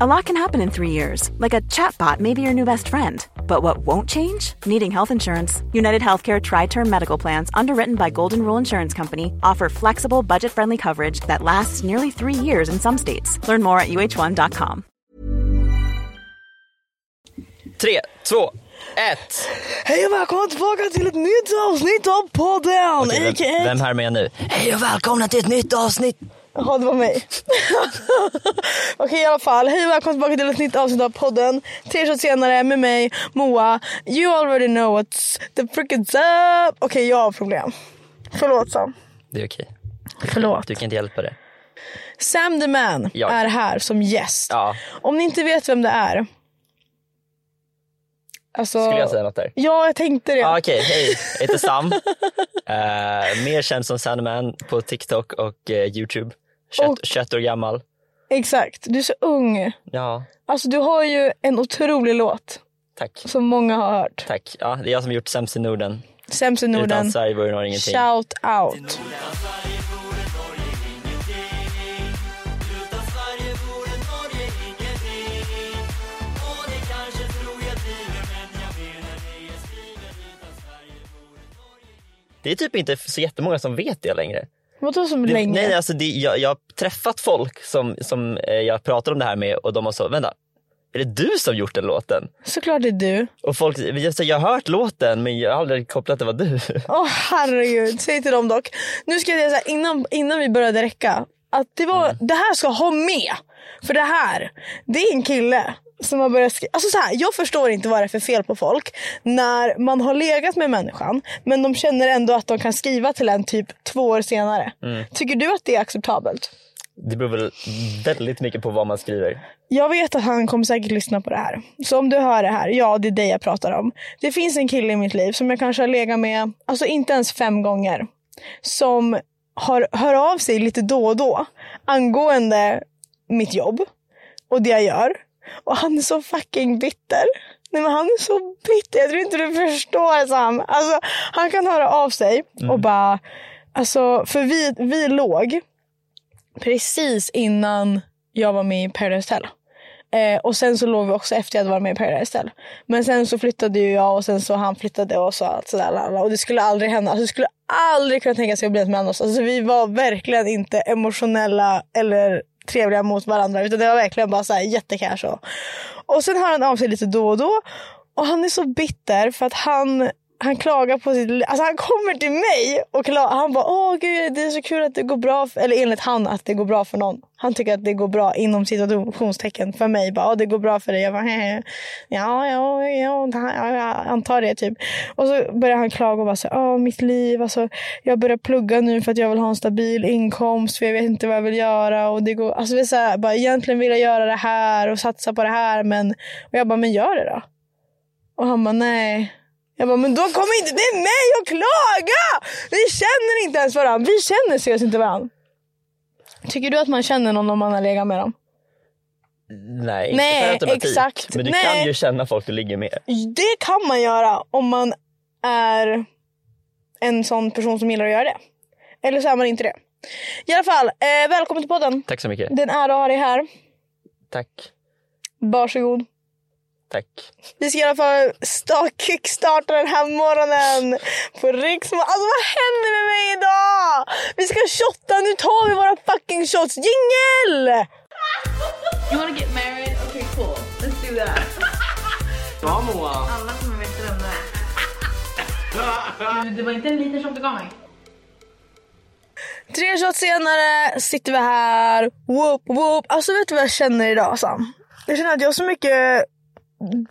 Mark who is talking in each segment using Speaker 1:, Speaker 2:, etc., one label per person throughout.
Speaker 1: A lot can happen in three years, like a chatbot may be your new best friend. But what won't change? Needing health insurance. United Healthcare Tri Term Medical Plans, underwritten by Golden Rule Insurance Company, offer flexible, budget friendly coverage that lasts nearly three years in some states. Learn more at uh1.com.
Speaker 2: Tre, två, ett.
Speaker 3: Hej och välkomna tillbaka till ett nytt avsnitt av podden!
Speaker 2: Okej, vem,
Speaker 3: a.k.a.
Speaker 2: vem här med nu? Hej och välkomna till ett nytt avsnitt.
Speaker 3: Jaha, det var mig. Okej i alla fall, hej och välkomna tillbaka till ett nytt avsnitt av podden. Tre shots senare med mig, Moa. You already know what's the frick is up. Okej, jag har problem. Förlåt Sam.
Speaker 2: Det är okej.
Speaker 3: Förlåt.
Speaker 2: Du kan inte hjälpa det.
Speaker 3: Sam the man
Speaker 2: Jag.
Speaker 3: är här som gäst.
Speaker 2: Ja,
Speaker 3: Om ni inte vet vem det är. Alltså...
Speaker 2: skulle jag säga något där?
Speaker 3: Ja, jag tänkte det.
Speaker 2: Ja, Okej, hej. Jag heter Sam. Eh, mer känd som Sandman på TikTok och eh, YouTube. 21,
Speaker 3: Och-
Speaker 2: 21 år gammal.
Speaker 3: Exakt, du är så ung.
Speaker 2: Ja,
Speaker 3: Alltså du har ju en otrolig låt
Speaker 2: tack.
Speaker 3: som många har hört.
Speaker 2: Tack. Ja, det är jag som gjort sämst i Norden.
Speaker 3: Sämst i Norden.
Speaker 2: Utan Sverige vore nog ingenting.
Speaker 3: Shout out.
Speaker 2: Det är typ inte f- så jättemånga som vet det längre.
Speaker 3: Vadå som
Speaker 2: Det,
Speaker 3: länge?
Speaker 2: Nej, alltså det, jag, jag har träffat folk som, som eh, jag pratar om det här med och de har så, vänta, är det du som gjort den låten?
Speaker 3: Såklart det är du.
Speaker 2: Och folk, jag, så, jag har hört låten men jag har aldrig kopplat att det var du.
Speaker 3: Åh herregud, säg till dem dock. Nu ska jag säga så här, innan, innan vi började räcka. Att det, var,
Speaker 2: Mm.
Speaker 3: det här ska ha med. För det här, det är en kille som har börjat skriva. Alltså så här, jag förstår inte vad det är för fel på folk. När man har legat med människan men de känner ändå att de kan skriva till en typ två år senare.
Speaker 2: Mm.
Speaker 3: Tycker du att det är acceptabelt?
Speaker 2: Det beror väl väldigt mycket på vad man skriver.
Speaker 3: Jag vet att han kommer säkert lyssna på det här. Så om du hör det här, ja det är dig jag pratar om. Det finns en kille i mitt liv som jag kanske har legat med, alltså inte ens fem gånger. Som har, hör av sig lite då och då angående mitt jobb och det jag gör. Och han är så fucking bitter. Nej men han är så bitter, jag tror inte du förstår Sam. Alltså, han kan höra av sig och bara, alltså för vi, vi låg precis innan jag var med i Paradise Hotel. Eh, och sen så låg vi också efter jag hade varit med i Paradise Hotel. Men sen så flyttade ju jag och sen så han flyttade och så allt sådär. lalala. Och det skulle aldrig hända. Alltså, det skulle aldrig kunna tänka sig att bli ett mellan oss. Alltså, vi var verkligen inte emotionella eller trevliga mot varandra. Utan det var verkligen bara så här jättecash. Och, och sen hör han av sig lite då och då. Och han är så bitter för att han han klagar på sitt li- Alltså han kommer till mig och klagar. Han bara åh gud det är så kul att det går bra. För... Eller enligt han att det går bra för någon. Han tycker att det går bra inom situationstecken för mig. Bara, åh, det går bra för dig. Jag bara hehe. Ja, ja, ja, ja, jag antar det typ. Och så börjar han klaga och bara så här, åh mitt liv. Alltså, jag börjar plugga nu för att jag vill ha en stabil inkomst. För jag vet inte vad jag vill göra. Och det går... Alltså det är så här, bara, egentligen vill jag göra det här och satsa på det här. Men... Och jag bara men gör det då. Och han bara nej. Jag bara, men då kom inte till mig och klaga! Vi känner inte ens varandra. Vi känner seriöst inte varandra. Tycker du att man känner någon om man har legat med dem?
Speaker 2: Nej,
Speaker 3: Nej,
Speaker 2: inte per automatik.
Speaker 3: exakt.
Speaker 2: Men du
Speaker 3: Nej.
Speaker 2: kan ju känna folk du ligger med.
Speaker 3: Det kan man göra om man är en sån person som gillar att göra det. Eller så är man inte det. I alla fall, eh, välkommen till podden.
Speaker 2: Tack så mycket.
Speaker 3: Det är en ära att ha dig här.
Speaker 2: Tack.
Speaker 3: Varsågod.
Speaker 2: Tack.
Speaker 3: Vi ska i alla fall sta- kickstarta den här morgonen på Riksmorgon. Alltså vad händer med mig idag? Vi ska shotta, nu tar vi våra fucking shots. Jingel!
Speaker 4: You wanna get married? Okay, cool. Let's do that. Alla kommer veta vem det är. Det var inte en liten shot du gav mig.
Speaker 3: Tre shots senare sitter vi här. Whoop, whoop. Alltså vet du vad jag känner idag Sam? Jag känner att jag har så mycket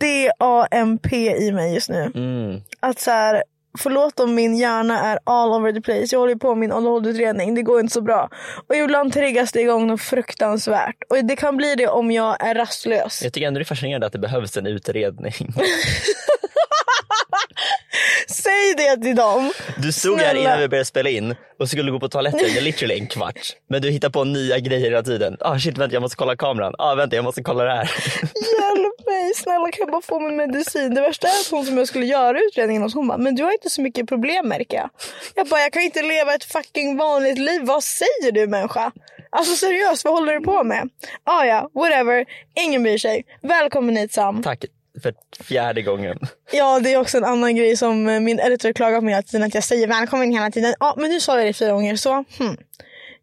Speaker 3: DAMP i mig just nu.
Speaker 2: Mm.
Speaker 3: Att så här, förlåt om min hjärna är all over the place. Jag håller ju på med min ADHD-utredning. Det går inte så bra. Och ibland triggas det igång något fruktansvärt. Och det kan bli det om jag är rastlös.
Speaker 2: Jag tycker ändå det är fascinerande att det behövs en utredning.
Speaker 3: Säg Säg det till dem.
Speaker 2: Du stod här
Speaker 3: Snälla.
Speaker 2: innan vi började spela in och skulle gå på toaletten i literally en kvart. Men du hittar på nya grejer hela tiden. Ah shit vänta jag måste kolla kameran. Ah vänta jag måste kolla det här.
Speaker 3: Hjälp mig, snälla kan jag bara få min medicin? Det värsta är att hon som jag skulle göra utredningen hos hon bara, men du har inte så mycket problem märker jag. Jag bara, jag kan inte leva ett fucking vanligt liv. Vad säger du människa? Alltså seriöst, vad håller du på med? Ah, ja, whatever. Ingen bryr sig. Välkommen hit Sam.
Speaker 2: Tack för fjärde gången.
Speaker 3: Ja, det är också en annan grej som eh, min editor klagar på mig hela tiden. Att jag säger välkommen hela tiden. Ja, men nu sa jag det fyra gånger så hmm.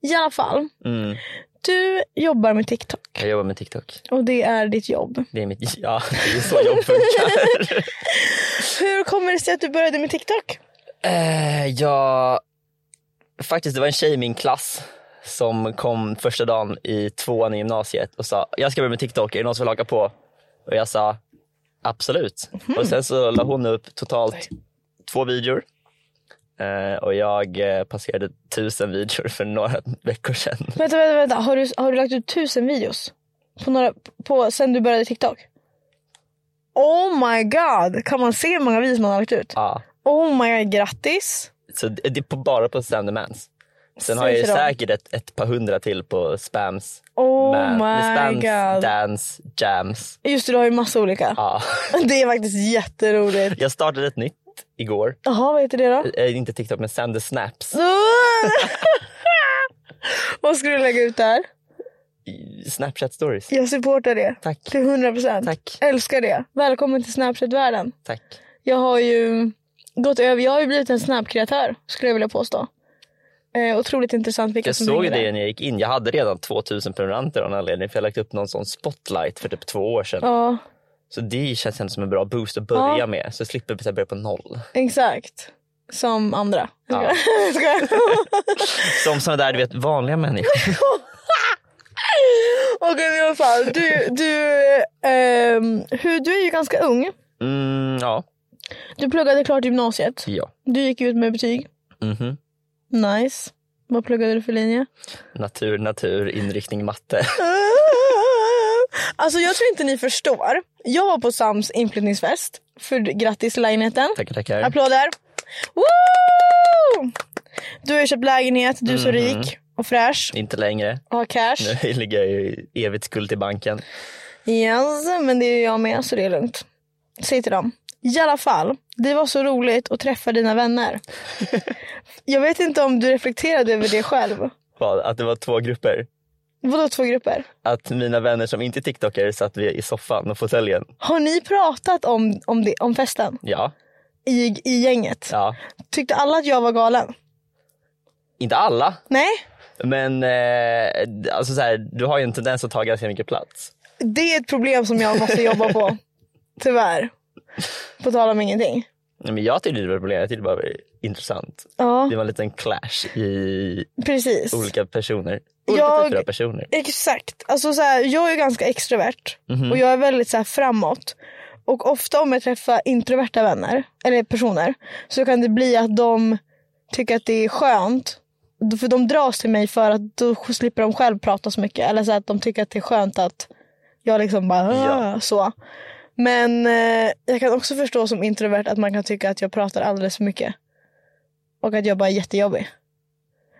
Speaker 3: I alla fall,
Speaker 2: Mm.
Speaker 3: du jobbar med TikTok
Speaker 2: Jag jobbar med TikTok.
Speaker 3: och det är ditt jobb.
Speaker 2: Det är mitt, ja det är så jobb funkar.
Speaker 3: Hur kommer det sig att du började med TikTok?
Speaker 2: Eh, jag... Faktiskt, det var en tjej i min klass som kom första dagen i tvåan i gymnasiet och sa jag ska börja med TikTok, är det någon som vill haka på? Och jag sa absolut.
Speaker 3: Mhm.
Speaker 2: Och sen så la hon upp totalt två videor. Eh, och jag eh, passerade tusen videor för några veckor sedan.
Speaker 3: Vänta, vänta, vänta. Har du, har du lagt ut tusen videos? På några, på, sen du började TikTok? Oh my god! Kan man se hur många videos man har lagt ut?
Speaker 2: Ja,
Speaker 3: Oh my god, grattis!
Speaker 2: så det det är på, bara på Stand Mans. Sen har
Speaker 3: Säg
Speaker 2: jag ju
Speaker 3: till dem.
Speaker 2: säkert ett, ett par hundra till på Spams,
Speaker 3: Oh
Speaker 2: man,
Speaker 3: my
Speaker 2: spams
Speaker 3: god.
Speaker 2: Dance, Jams.
Speaker 3: Just det, du har ju massa olika.
Speaker 2: Ja.
Speaker 3: Det är faktiskt jätteroligt.
Speaker 2: Jag startade ett nytt igår.
Speaker 3: Jaha, vad heter det då?
Speaker 2: Eh, inte TikTok men Send the Snaps.
Speaker 3: vad ska du lägga ut där?
Speaker 2: I Snapchat stories.
Speaker 3: Jag supportar det.
Speaker 2: Tack.
Speaker 3: Till 100%.
Speaker 2: Tack.
Speaker 3: Älskar det. Välkommen till Snapchat-världen.
Speaker 2: Tack.
Speaker 3: Jag har ju gått över. Jag har ju blivit en snabbkreatör skulle jag vilja påstå. Eh, otroligt intressant vilka
Speaker 2: Jag
Speaker 3: som
Speaker 2: såg ju
Speaker 3: hänger
Speaker 2: det
Speaker 3: där.
Speaker 2: när jag gick in. Jag hade redan 2000 prenumeranter av någon anledning för jag lagt upp någon sån spotlight för typ två år sedan.
Speaker 3: Ja,
Speaker 2: Så det känns ändå som en bra boost att börja
Speaker 3: Ja.
Speaker 2: med. Så jag slipper jag börja på noll.
Speaker 3: exakt. Som andra.
Speaker 2: Ja.
Speaker 3: Jag skojar.
Speaker 2: Som sådana där du vet vanliga människor.
Speaker 3: Okej men i alla fall. Du, du, ehm, hur, du är ju ganska ung.
Speaker 2: Mm, ja.
Speaker 3: Du pluggade klart gymnasiet.
Speaker 2: Ja.
Speaker 3: Du gick ut med betyg.
Speaker 2: Mhm.
Speaker 3: Nice. Vad pluggade du för linje?
Speaker 2: Natur, natur, inriktning, matte.
Speaker 3: Alltså jag tror inte ni förstår. Jag var på Sams inflyttningsfest. För grattis lägenheten.
Speaker 2: Tackar, tackar.
Speaker 3: Applåder. Woo! Du har ju köpt lägenhet, du är så
Speaker 2: Mhm.
Speaker 3: rik och fräsch.
Speaker 2: Inte längre.
Speaker 3: Har cash.
Speaker 2: Nu ligger jag ju i evigt skuld till banken.
Speaker 3: Yes, men det är ju jag med så det är lugnt. Säg till dem. I alla fall, det var så roligt att träffa dina vänner. jag vet inte om du reflekterade över det själv.
Speaker 2: Vad, Att det var två grupper.
Speaker 3: Vadå två grupper?
Speaker 2: Att mina vänner som inte är tiktokare satt vi i soffan och fåtöljen.
Speaker 3: Har ni pratat om, om, det, om festen
Speaker 2: Ja,
Speaker 3: i, i gänget?
Speaker 2: ja.
Speaker 3: Tyckte alla att jag var galen?
Speaker 2: Inte alla,
Speaker 3: Nej,
Speaker 2: men eh, alltså så här, du har ju en tendens att ta ganska mycket plats.
Speaker 3: det är ett problem som jag måste jobba på. Tyvärr. På tal om ingenting.
Speaker 2: Nej, Men jag tyckte det var ett problem, jag tyckte det var intressant.
Speaker 3: Ja,
Speaker 2: Det var en liten clash i
Speaker 3: precis.
Speaker 2: olika personer. Olika
Speaker 3: Jag-
Speaker 2: typer av personer.
Speaker 3: Exakt. Alltså så här, jag är ganska extrovert och jag är väldigt så här, framåt. Och ofta om jag träffar introverta vänner eller personer så kan det bli att de tycker att det är skönt. För de dras till mig för att då slipper de själv prata så mycket. Eller så här, att de tycker att det är skönt att jag liksom bara
Speaker 2: Ja.
Speaker 3: "Ah", så. Men eh, jag kan också förstå som introvert att man kan tycka att jag pratar alldeles för mycket. Och att jag bara är jättejobbig.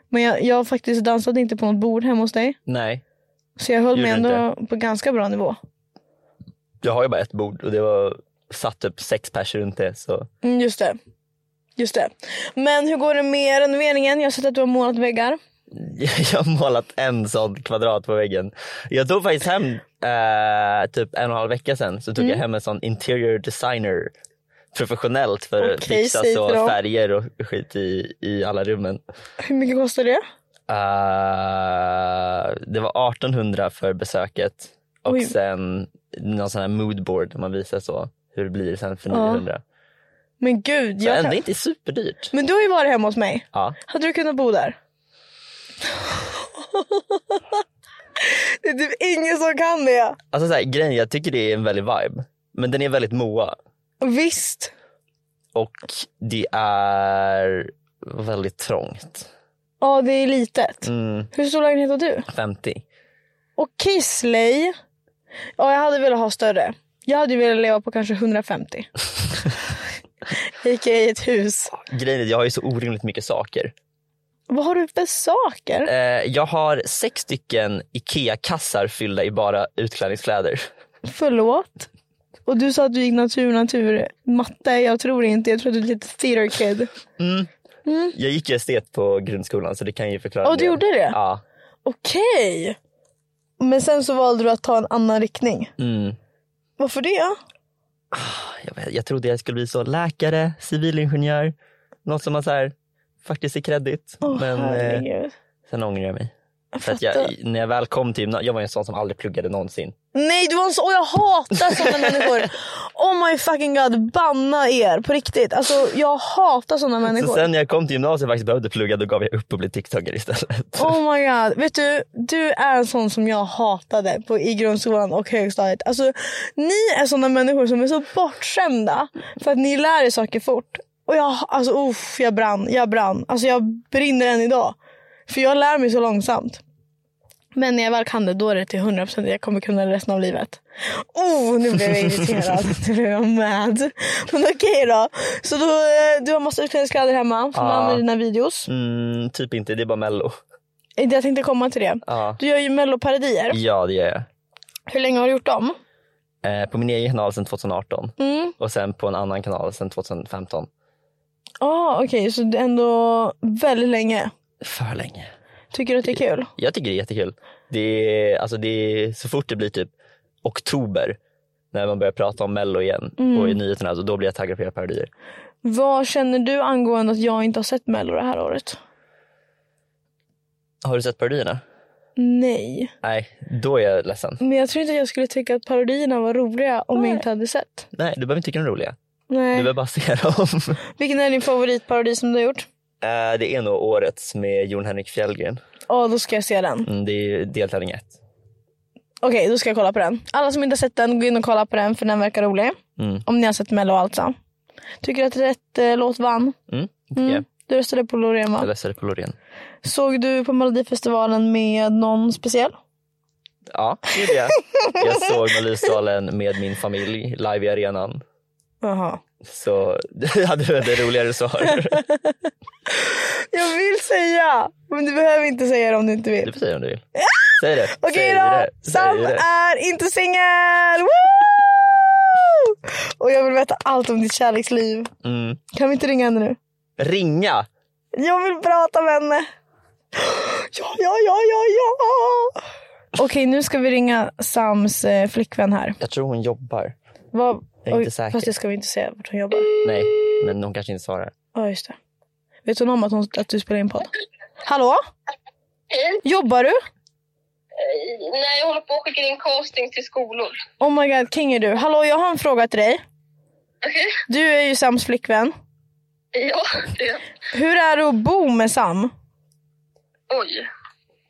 Speaker 3: Men jag, jag faktiskt dansade inte på något bord hemma hos dig.
Speaker 2: Nej,
Speaker 3: Så jag höll
Speaker 2: Gjorde
Speaker 3: mig
Speaker 2: du
Speaker 3: ändå på ganska bra nivå.
Speaker 2: jag har ju bara ett bord och det var satt typ sex pers runt det. Så.
Speaker 3: Mm, just det. Just det. Men hur går det med renoveringen? Jag har sett att du har målat väggar.
Speaker 2: Jag har målat en sån kvadrat på väggen. Jag tog faktiskt hem, eh, typ en och en halv vecka sedan, så
Speaker 3: Mm.
Speaker 2: tog jag hem en sån interior designer professionellt för att
Speaker 3: Okej,
Speaker 2: fixa
Speaker 3: säg
Speaker 2: så
Speaker 3: till dem.
Speaker 2: färger och skit i, i alla rummen.
Speaker 3: Hur mycket kostar det?
Speaker 2: Eh, det var 1800 för besöket och
Speaker 3: Oj.
Speaker 2: sen någon sån här moodboard där man visar så hur det blir sen för
Speaker 3: Ja,
Speaker 2: 900.
Speaker 3: Men gud.
Speaker 2: Så
Speaker 3: Jag
Speaker 2: ändå
Speaker 3: kan...
Speaker 2: inte superdyrt.
Speaker 3: Men du har ju varit hemma hos mig.
Speaker 2: Ja.
Speaker 3: Hade du kunnat bo där? det är typ ingen som kan det.
Speaker 2: Alltså så här, grejen, jag tycker det är en väldig vibe. Men den är väldigt moa.
Speaker 3: Visst.
Speaker 2: Och det är väldigt trångt.
Speaker 3: Ja, det är litet.
Speaker 2: Mm,
Speaker 3: Hur stor lägenhet har du?
Speaker 2: 50.
Speaker 3: Okej, Slay. Ja, jag hade velat ha större. Jag hade ju velat leva på kanske 150. gick jag i ett hus.
Speaker 2: Grejen är att jag har ju så orimligt mycket saker.
Speaker 3: Vad har du för saker?
Speaker 2: Eh, jag har sex stycken IKEA-kassar fyllda i bara utklädningskläder.
Speaker 3: Förlåt? Och du sa att du gick natur, natur, matte. Jag tror inte, jag tror att du är lite theater kid.
Speaker 2: Jag gick ju estet på grundskolan så det kan ju förklara
Speaker 3: Åh,
Speaker 2: en
Speaker 3: du
Speaker 2: del.
Speaker 3: gjorde det?
Speaker 2: Ja.
Speaker 3: Okej. Men sen så valde du att ta en annan riktning.
Speaker 2: Mm.
Speaker 3: Varför det?
Speaker 2: Jag, vet, jag trodde jag skulle bli så läkare, civilingenjör, något som man så här, faktiskt är kreddigt.
Speaker 3: Åh
Speaker 2: Men eh,
Speaker 3: herregud.
Speaker 2: sen ångrar jag mig.
Speaker 3: Jag
Speaker 2: För att
Speaker 3: fattar.
Speaker 2: jag, när jag väl kom till gymnasiet, jag var ju en sån som aldrig pluggade någonsin.
Speaker 3: Nej du var en så, åh jag hatar sådana människor. Oh my fucking god, banna er på riktigt. Alltså jag hatar sådana
Speaker 2: Så
Speaker 3: människor.
Speaker 2: sen när jag kom till gymnasiet och faktiskt behövde plugga då gav jag upp och blev TikToker istället.
Speaker 3: Oh my god. Vet du, du är en sån som jag hatade på, i grundskolan och högstadiet. Alltså, ni är såna människor som är så bortskämda för att ni lär er saker fort. Och jag, alltså, uff, jag brann, jag brann. Alltså, jag brinner än idag. För jag lär mig så långsamt. Men när jag väl kan det, då är det till 100% att jag kommer kunna det resten av livet. Oh, nu blev jag irriterad. nu blev jag mad. Men okej då. Så då, eh, du har massa utklädningskläder hemma som du
Speaker 2: Ja.
Speaker 3: använder i dina videos.
Speaker 2: Mm, typ inte, det är bara mello.
Speaker 3: Jag tänkte komma till det.
Speaker 2: Ja,
Speaker 3: Du gör ju melloparodier.
Speaker 2: ja det gör jag.
Speaker 3: Hur länge har du gjort dem?
Speaker 2: Eh, på min egen kanal sedan 2018
Speaker 3: Mm.
Speaker 2: och sen på en annan kanal sedan 2015.
Speaker 3: Ah, Okej, så det är ändå väldigt länge.
Speaker 2: För länge.
Speaker 3: Tycker du att det är kul?
Speaker 2: Jag tycker det är jättekul. Det är, alltså det är, så fort det blir typ oktober när man börjar prata om mello igen och i nyheterna, alltså, då blir jag taggad på era parodier.
Speaker 3: Vad känner du angående att jag inte har sett mello det här året?
Speaker 2: Har du sett parodierna?
Speaker 3: Nej,
Speaker 2: Nej, då är jag ledsen.
Speaker 3: men jag tror inte att jag skulle tycka att parodierna var roliga om jag inte hade sett.
Speaker 2: Nej, du behöver inte tycka de är roliga. Du
Speaker 3: Nej.
Speaker 2: behöver bara se dem.
Speaker 3: Vilken är din favoritparodi som du har gjort?
Speaker 2: Eh, Det är nog årets med Jon Henrik Fjällgren.
Speaker 3: Ja, då ska jag se den.
Speaker 2: Mm, Det är ju deltävling ett.
Speaker 3: Okej, då ska jag kolla på den. Alla som inte har sett den, gå in och kolla på den för den verkar rolig.
Speaker 2: Mm.
Speaker 3: Om ni har sett mello alltså. Tycker du att rätt eh, låt vann?
Speaker 2: Mm, det tycker jag.
Speaker 3: Du röstade på Loreen va?
Speaker 2: jag läser det på Loreen.
Speaker 3: Såg du på Melodifestivalen med någon speciell?
Speaker 2: Ja, det gjorde jag. Jag såg Melodifestivalen med min familj live i arenan.
Speaker 3: Jaha.
Speaker 2: Så jag hade väl ett roligare svar.
Speaker 3: Jag vill säga, men du behöver inte säga det om du inte
Speaker 2: Du
Speaker 3: vill.
Speaker 2: får säga det om du vill. Säg det.
Speaker 3: Okej
Speaker 2: Säg
Speaker 3: då,
Speaker 2: det. Säg
Speaker 3: Sam
Speaker 2: det.
Speaker 3: är inte singel! Woo! Och jag vill veta allt om ditt kärleksliv.
Speaker 2: Mm.
Speaker 3: Kan vi inte ringa henne nu?
Speaker 2: Ringa!
Speaker 3: Jag vill prata med henne. Ja, ja, ja, ja, ja! Okej, nu ska vi ringa Sams eh, flickvän här.
Speaker 2: Jag tror hon jobbar.
Speaker 3: Vad-
Speaker 2: Jag är inte
Speaker 3: Oj,
Speaker 2: säker.
Speaker 3: Fast det ska vi inte säga vart hon jobbar.
Speaker 2: Nej, men hon kanske inte svarar.
Speaker 3: Ja, just det. Vet hon om att, hon, att du spelar in podd? Hallå?
Speaker 5: Hej.
Speaker 3: Jobbar du?
Speaker 5: Eh, Nej, jag håller på att skicka in casting till skolor.
Speaker 3: Oh my god, king är du. Hallå, jag har en fråga till dig.
Speaker 5: Okej?
Speaker 3: Du är ju Sams flickvän.
Speaker 5: Ja, det...
Speaker 3: Hur är det att bo med Sam?
Speaker 5: Oj.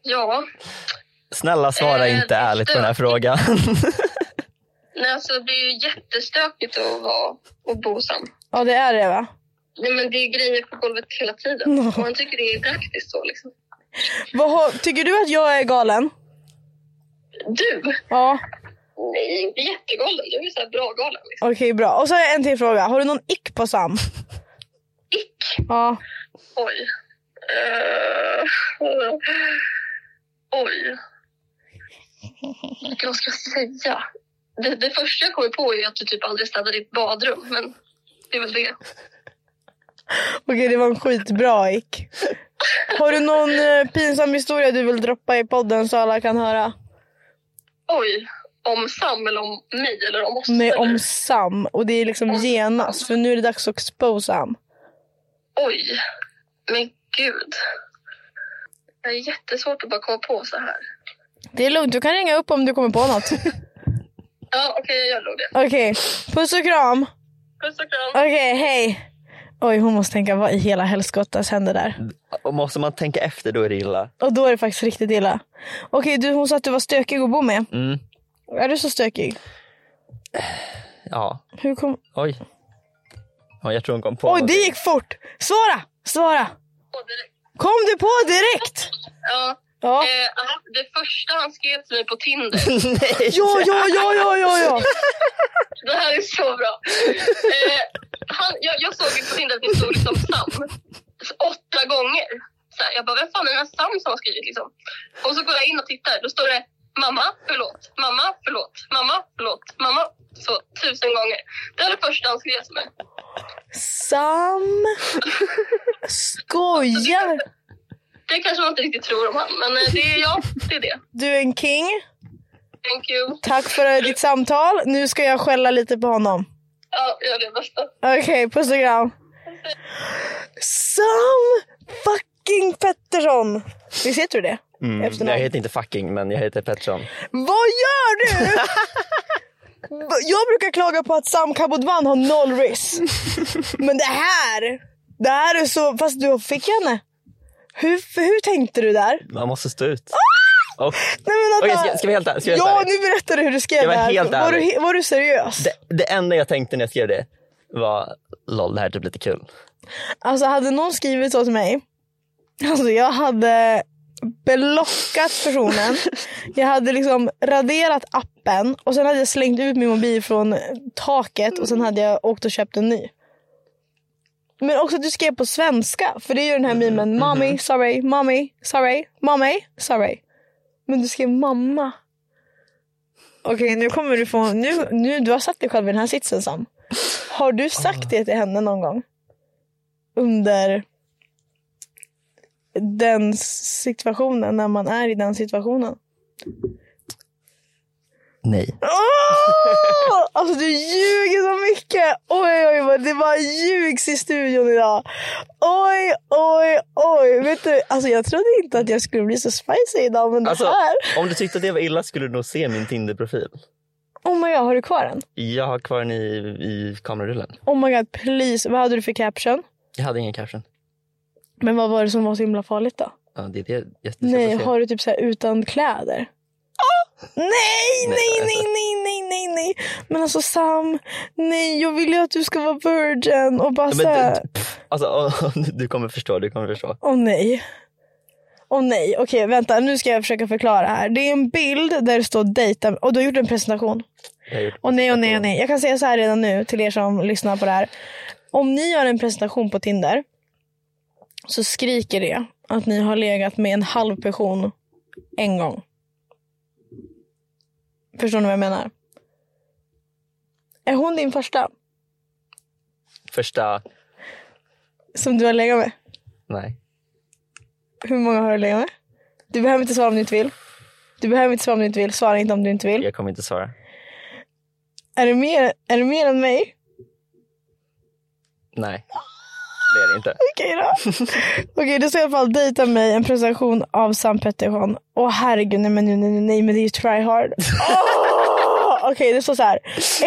Speaker 5: Ja.
Speaker 2: Snälla svara
Speaker 5: Eh,
Speaker 2: inte ärligt på den här
Speaker 5: stökigt.
Speaker 2: frågan.
Speaker 5: Nej, alltså det är ju jättestökigt att vara och bo sam.
Speaker 3: Ja, det är det va?
Speaker 5: Nej, men det är grejer på golvet hela tiden. Och man tycker det är praktiskt så liksom.
Speaker 3: Vad har, tycker du att jag är galen?
Speaker 5: Du?
Speaker 3: Ja,
Speaker 5: Nej, inte jättegalen. Du är så här bra galen liksom.
Speaker 3: okej bra. Och så har jag en till fråga. Har du någon ick på Sam?
Speaker 5: Ick.
Speaker 3: Ja.
Speaker 5: Oj. Eh, Oj. Vad ska jag säga? Det, det första jag kommer på är att du typ aldrig städar ditt badrum. Men det är väl det.
Speaker 3: Okej, det var en skitbra ick. Har du någon eh, pinsam historia du vill droppa i podden så alla kan höra?
Speaker 5: Oj, om Sam eller om mig eller om oss?
Speaker 3: Nej,
Speaker 5: eller?
Speaker 3: om Sam. Och det är liksom genast. För nu är det dags att exposa Sam.
Speaker 5: Oj, men gud. Det är jättesvårt att bara komma på så här.
Speaker 3: Det är lugnt, du kan ringa upp om du kommer på något.
Speaker 5: Ja, okej, jag gör nog det.
Speaker 3: Okej, puss och kram.
Speaker 5: Puss och kram.
Speaker 3: Okej, hej. Oj, hon måste tänka vad i hela helskottas händer där?
Speaker 2: Och måste man tänka efter då är det illa.
Speaker 3: Och då är det faktiskt riktigt illa. Okej, du, hon sa att du var stökig att bo med.
Speaker 2: Mm.
Speaker 3: Är du så stökig?
Speaker 2: Ja,
Speaker 3: Hur kom...
Speaker 2: oj. Ja, jag tror hon kom på
Speaker 3: Oj, det
Speaker 2: någonting.
Speaker 3: gick fort! Svara! Svara!
Speaker 5: Och direkt.
Speaker 3: Kom du på direkt?
Speaker 5: Ja,
Speaker 3: Ja,
Speaker 5: eh, aha, det första han skrev till mig på Tinder.
Speaker 2: Nej.
Speaker 3: ja, ja, ja, ja, ja. ja.
Speaker 5: Det här är så bra. Eh, han, jag, jag såg ju på Tinder att det stod liksom Sam åtta gånger. Så här, jag bara, vem fan är den här Sam som har skrivit liksom? Och så går jag in och tittar, då står det mamma, förlåt, mamma, förlåt, mamma, förlåt, mamma. Så tusen gånger. Det är det första han skrev till mig.
Speaker 3: Sam skojar.
Speaker 5: Det kanske man inte riktigt tror om han, men eh, det är jag, det är det.
Speaker 3: Du är en king.
Speaker 5: Thank you.
Speaker 3: Tack för ditt samtal. Nu ska jag skälla lite på honom.
Speaker 5: Ja, jag gör det bästa.
Speaker 3: Okej, puss och kram. Sam fucking Pettersson. Visst heter du det?
Speaker 2: Mm, jag
Speaker 3: Efternamn.
Speaker 2: heter inte fucking, men jag heter Pettersson.
Speaker 3: Vad gör du? Jag brukar klaga på att Sam Kabodvan har noll risk. Men det här, det här är så, fast du fick henne. Hur, för hur tänkte du där?
Speaker 2: Man måste stå ut. Och,
Speaker 3: Nej men
Speaker 2: Okej,
Speaker 3: Ah! vänta.
Speaker 2: ska- ska vi helt ärligt- ska vi helt
Speaker 3: ja
Speaker 2: ärligt?
Speaker 3: nu berättar du hur du skrev
Speaker 2: Jag var
Speaker 3: det här.
Speaker 2: helt
Speaker 3: var, du,
Speaker 2: ärlig.
Speaker 3: he- var du seriös?
Speaker 2: det, det enda jag tänkte när jag skrev det var LOL, det här är typ lite kul.
Speaker 3: Alltså hade någon skrivit så till mig. Alltså jag hade blockat personen. jag hade liksom raderat appen och sen hade jag slängt ut min mobil från taket och sen hade jag åkt och köpt en ny. Men också att du skrev på svenska. För det är ju den här memen. Mommy, sorry, mommy, sorry, mommy, sorry. Men du skrev mamma. Okej nu kommer du få, nu, nu du har satt dig själv i den här sitsen Sam. Har du sagt det till henne någon gång? under den situationen, när man är i den situationen.
Speaker 2: Nej.
Speaker 3: Åh! Alltså du ljuger så mycket! Oj oj oj, det bara ljugs i studion idag. Oj oj oj. Vet du, alltså jag trodde inte att jag skulle bli så spicy idag men
Speaker 2: Alltså,
Speaker 3: det här.
Speaker 2: om du tyckte att det var illa skulle du nog se min Tinder-profil.
Speaker 3: Oh my god, har du kvar den?
Speaker 2: Jag har kvar den i, i kamerarullen.
Speaker 3: Oh my god, please. Vad hade du för caption?
Speaker 2: Jag hade ingen caption.
Speaker 3: Men vad var det som var så himla farligt då?
Speaker 2: Ja, det är det jag- jag ska
Speaker 3: Nej,
Speaker 2: se.
Speaker 3: har du typ så här utan kläder? Ah! Nej, nej,
Speaker 2: alltså.
Speaker 3: nej, nej, nej, nej, nej. Men alltså Sam, nej, jag vill ju att du ska vara virgin och bara
Speaker 2: Ja,
Speaker 3: så
Speaker 2: Men,
Speaker 3: här.
Speaker 2: du- pff, alltså, åh, du kommer förstå, du kommer förstå.
Speaker 3: Åh nej. Åh nej, okej vänta, nu ska jag försöka förklara här. Det är en bild där det står dejta och du har gjort en presentation.
Speaker 2: Jag har gjort-
Speaker 3: Och nej, och nej, och
Speaker 2: Alltså,
Speaker 3: nej. Jag kan säga så här redan nu till er som lyssnar på det här. Om ni gör en presentation på Tinder så skriker det att ni har legat med en halv person en gång. Förstår ni vad jag menar? Är hon din första
Speaker 2: Första,
Speaker 3: som du har legat med?
Speaker 2: nej.
Speaker 3: Hur många har du legat med? Du behöver inte svara om du inte vill. Du behöver inte svara om du inte vill. Svara inte om du inte vill.
Speaker 2: Jag kommer inte svara.
Speaker 3: Är det mer, är det mer än mig?
Speaker 2: Nej, det är det inte.
Speaker 3: Okej då. Okej, du ska i alla fall dejta mig, en presentation av Sam Pettersson. Åh herregud, nej men, nej, nej, nej men det är ju try hard. Åh! Okej, det står så här.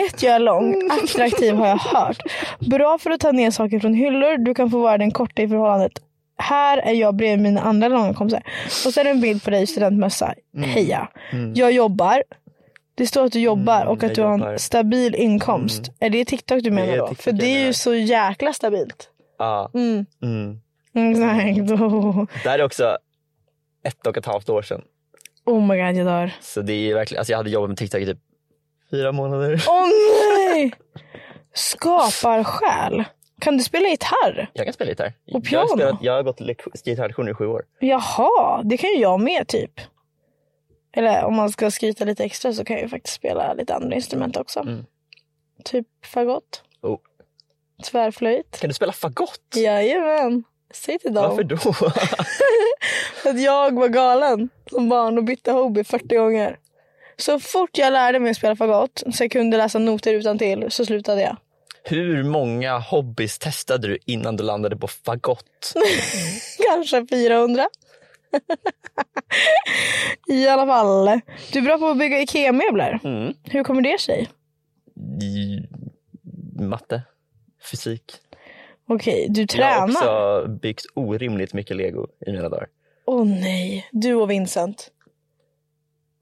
Speaker 3: Ett, jag är lång. Attraktiv har jag hört. Bra för att ta ner saker från hyllor. Du kan få vara den korta i förhållandet. Här är jag bredvid mina andra långa kompisar. Och så är det en bild på dig i studentmössa.
Speaker 2: Mm.
Speaker 3: Heja. Jag jobbar. Det står att du jobbar
Speaker 2: Mm,
Speaker 3: och
Speaker 2: jag
Speaker 3: att du har
Speaker 2: jobbar. Mm.
Speaker 3: en stabil inkomst. Är det TikTok du menar
Speaker 2: är
Speaker 3: då?
Speaker 2: TikTok
Speaker 3: För
Speaker 2: jag
Speaker 3: det är
Speaker 2: menar.
Speaker 3: ju så jäkla stabilt.
Speaker 2: Ja,
Speaker 3: Mm.
Speaker 2: mm.
Speaker 3: Exakt. Oh.
Speaker 2: Det här är också ett och ett halvt år sedan.
Speaker 3: oh my god, jag dör.
Speaker 2: Så det är ju verkligen, alltså jag hade jobbat med TikTok i typ fyra månader.
Speaker 3: Åh oh, nej! Skaparsjäl. Kan du spela gitarr?
Speaker 2: Jag kan spela gitarr.
Speaker 3: Och
Speaker 2: Jag har,
Speaker 3: piano.
Speaker 2: spelat, jag har gått lek- gitarrlektioner i sju år.
Speaker 3: Jaha, det kan ju jag med typ. Eller om man ska skryta lite extra så kan jag ju faktiskt spela lite andra instrument också.
Speaker 2: Mm.
Speaker 3: Typ fagott,
Speaker 2: Oh.
Speaker 3: tvärflöjt.
Speaker 2: Kan du spela fagott?
Speaker 3: Jajamän. Säg till
Speaker 2: Varför
Speaker 3: dem
Speaker 2: då?
Speaker 3: att jag var galen som barn och bytte hobby 40 gånger. Så fort jag lärde mig att spela fagott så jag kunde läsa noter utan till så slutade jag.
Speaker 2: Hur många hobbys testade du innan du landade på fagott?
Speaker 3: Kanske 400. I alla fall. Du är bra på att bygga IKEA-möbler.
Speaker 2: Mm.
Speaker 3: Hur kommer det sig?
Speaker 2: I matte, fysik.
Speaker 3: Okej, du
Speaker 2: Jag har
Speaker 3: tränar.
Speaker 2: också byggt orimligt mycket lego i mina dagar.
Speaker 3: Åh nej, du och Vincent.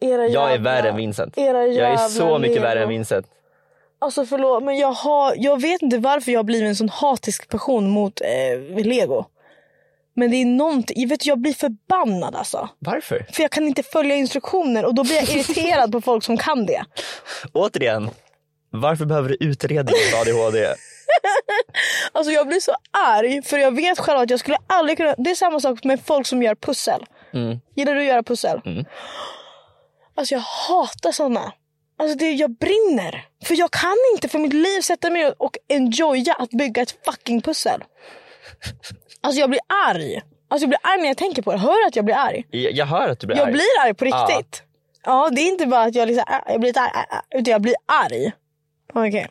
Speaker 3: Era
Speaker 2: Jag är
Speaker 3: jävla-
Speaker 2: värre än Vincent.
Speaker 3: Era
Speaker 2: Jag är
Speaker 3: jävla
Speaker 2: så mycket
Speaker 3: lego.
Speaker 2: värre än Vincent.
Speaker 3: Alltså förlåt, men jag, har, jag vet inte varför jag har blivit en sån hatisk person mot eh, lego. Men det är någonting, jag, vet, jag blir förbannad alltså.
Speaker 2: Varför?
Speaker 3: För jag kan inte följa instruktioner och då blir jag irriterad på folk som kan det.
Speaker 2: Återigen, varför behöver du utredning för ADHD?
Speaker 3: Alltså jag blir så arg för jag vet själv att jag skulle aldrig kunna. Det är samma sak med folk som gör pussel.
Speaker 2: Mm.
Speaker 3: Gillar du att göra pussel?
Speaker 2: Mm.
Speaker 3: Alltså jag hatar sådana. Alltså det, jag brinner. För jag kan inte för mitt liv sätta mig ner och enjoya att bygga ett fucking pussel. Alltså jag blir arg. Alltså jag blir arg när jag tänker på det. Hör du att jag blir arg?
Speaker 2: Jag, jag hör att du blir
Speaker 3: Jag
Speaker 2: arg.
Speaker 3: blir arg på
Speaker 2: Ja.
Speaker 3: riktigt. Ja, det är inte bara att jag, liksom, ah, jag blir lite arg, ah, ah, utan jag blir arg. Okej.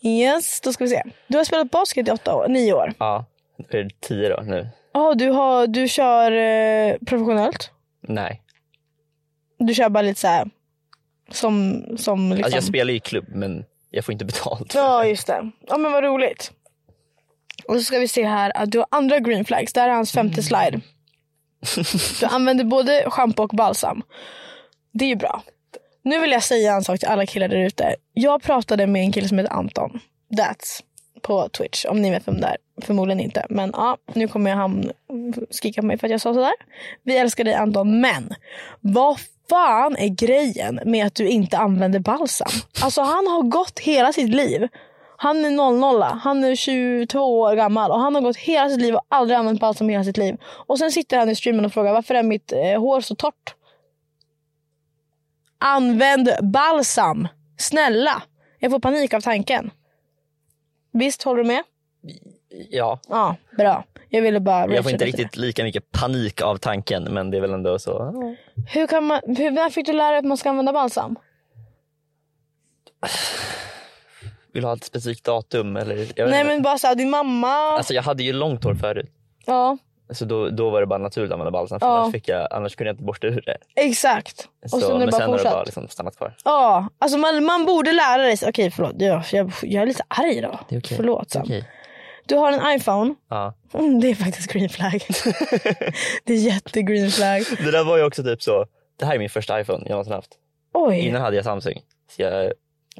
Speaker 3: Yes, då ska vi se. Du har spelat basket i åtta år, nio år.
Speaker 2: Ja. Är det tio då nu?
Speaker 3: Ja, du, har, du kör eh, professionellt.
Speaker 2: Nej. Alltså,
Speaker 3: Du kör bara lite så här som, som liksom.
Speaker 2: Alltså jag spelar ju i klubb men jag får inte betalt. för
Speaker 3: Ja,
Speaker 2: det.
Speaker 3: just det. Ja, men vad roligt. Och så ska vi se här att du har andra green flags. Det här är hans femte slide. Du använder både schampo och balsam. Det är ju bra. Nu vill jag säga en sak till alla killar där ute. Jag pratade med en kille som heter Anton. That's på Twitch. Om ni vet vem det är. Förmodligen inte. Men ja, nu kommer jag han skrika på mig för att jag sa sådär. Vi älskar dig Anton, men vad fan är grejen med att du inte använder balsam? Alltså han har gått hela sitt liv. Han är 00, han är 22 år gammal och han har gått hela sitt liv och aldrig använt balsam i hela sitt liv. Och sen sitter han i streamen och frågar varför är mitt eh, hår så torrt? Använd balsam! Snälla! Jag får panik av tanken. Visst, håller du med?
Speaker 2: ja.
Speaker 3: Ja, bra. Jag ville bara...
Speaker 2: Jag får inte riktigt lika mycket panik av tanken men det är väl ändå så.
Speaker 3: Hur kan man... Hur, när fick du lära dig att man ska använda balsam?
Speaker 2: Vill du ha ett specifikt datum eller? Jag vet
Speaker 3: Nej
Speaker 2: inte.
Speaker 3: men bara såhär, din mamma...
Speaker 2: Alltså jag hade ju långt hår förut.
Speaker 3: Ja,
Speaker 2: Så då, då var det bara naturligt att använda balsam. För
Speaker 3: Ja.
Speaker 2: annars, fick jag, annars kunde jag inte borsta ur det.
Speaker 3: exakt. Och
Speaker 2: Så,
Speaker 3: så, sen har
Speaker 2: men
Speaker 3: det bara
Speaker 2: sen har det
Speaker 3: fortsatt.
Speaker 2: bara liksom stannat kvar.
Speaker 3: Ja, alltså man, man borde lära dig. Okej förlåt, jag, jag, jag är lite arg idag.
Speaker 2: Det är okej.
Speaker 3: Förlåt Sam.
Speaker 2: Okej.
Speaker 3: Du har en iPhone.
Speaker 2: Ja.
Speaker 3: Mm, det är faktiskt green flag. det är jätte green flag.
Speaker 2: Det där var ju också typ så. Det här är min första iPhone jag någonsin haft.
Speaker 3: Oj,
Speaker 2: Innan hade jag Samsung. Så jag,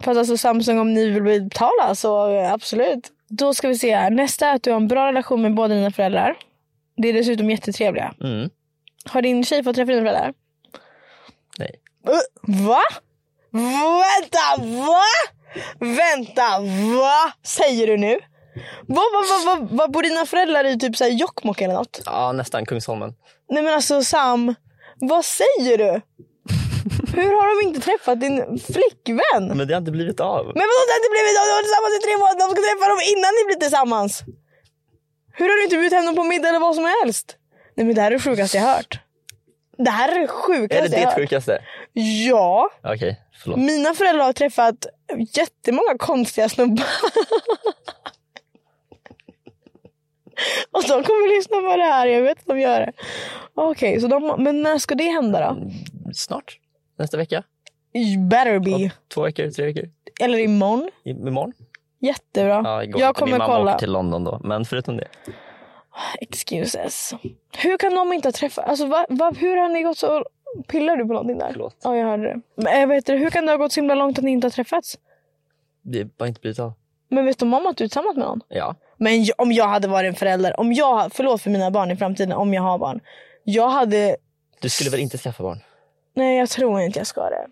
Speaker 3: fast alltså Samsung om ni vill betala så eh, absolut. Då ska vi se här. Nästa är att du har en bra relation med båda dina föräldrar. Det är dessutom jättetrevliga.
Speaker 2: mm,
Speaker 3: Har din tjej fått träffa dina föräldrar?
Speaker 2: Nej.
Speaker 3: Uh, va? Vänta, va? Vänta, va? Säger du nu? Vad va, va, va, va, bor dina föräldrar i? Typ såhär Jokkmokk eller något?
Speaker 2: ja, nästan Kungsholmen.
Speaker 3: Nej men alltså Sam, vad säger du? Hur har de inte träffat din flickvän?
Speaker 2: Men det har inte blivit av.
Speaker 3: Men vadå det har inte blivit av? De har varit tillsammans i tre månader. De ska träffa dem innan ni blir tillsammans. Hur har du inte bjudit hem dem på middag eller vad som helst? Nej men det här är det sjukaste jag hört. Det här är det
Speaker 2: är det
Speaker 3: sjukaste jag
Speaker 2: ditt
Speaker 3: hört.
Speaker 2: sjukaste?
Speaker 3: Ja,
Speaker 2: Okej, förlåt.
Speaker 3: mina föräldrar har träffat jättemånga konstiga snubbar. Och de kommer lyssna på det här, jag vet att de gör det. Okej, så de, men när ska det hända då?
Speaker 2: Snart? Nästa vecka?
Speaker 3: Better be.
Speaker 2: Två veckor? Tre veckor?
Speaker 3: Eller imorgon.
Speaker 2: I, imorgon?
Speaker 3: Jättebra.
Speaker 2: Ja, igår.
Speaker 3: jag kommer
Speaker 2: Min mamma
Speaker 3: kolla.
Speaker 2: åker till London då. Men förutom det.
Speaker 3: Excuses. Hur kan de inte ha träffat... Alltså, va, va, hur har ni gått så... Pillar du på någonting där?
Speaker 2: Förlåt.
Speaker 3: Ja, jag hörde det. Men, eh, vad heter det. Hur kan det ha gått så himla långt att ni inte har träffats?
Speaker 2: Det har bara inte blivit av.
Speaker 3: Men vet de om att du är tillsammans med någon?
Speaker 2: Ja.
Speaker 3: Men jag, om jag hade varit en förälder, om jag, ha- förlåt för mina barn i framtiden, om jag har barn. Jag hade,
Speaker 2: Du skulle väl inte skaffa barn?
Speaker 3: nej jag tror inte jag ska det.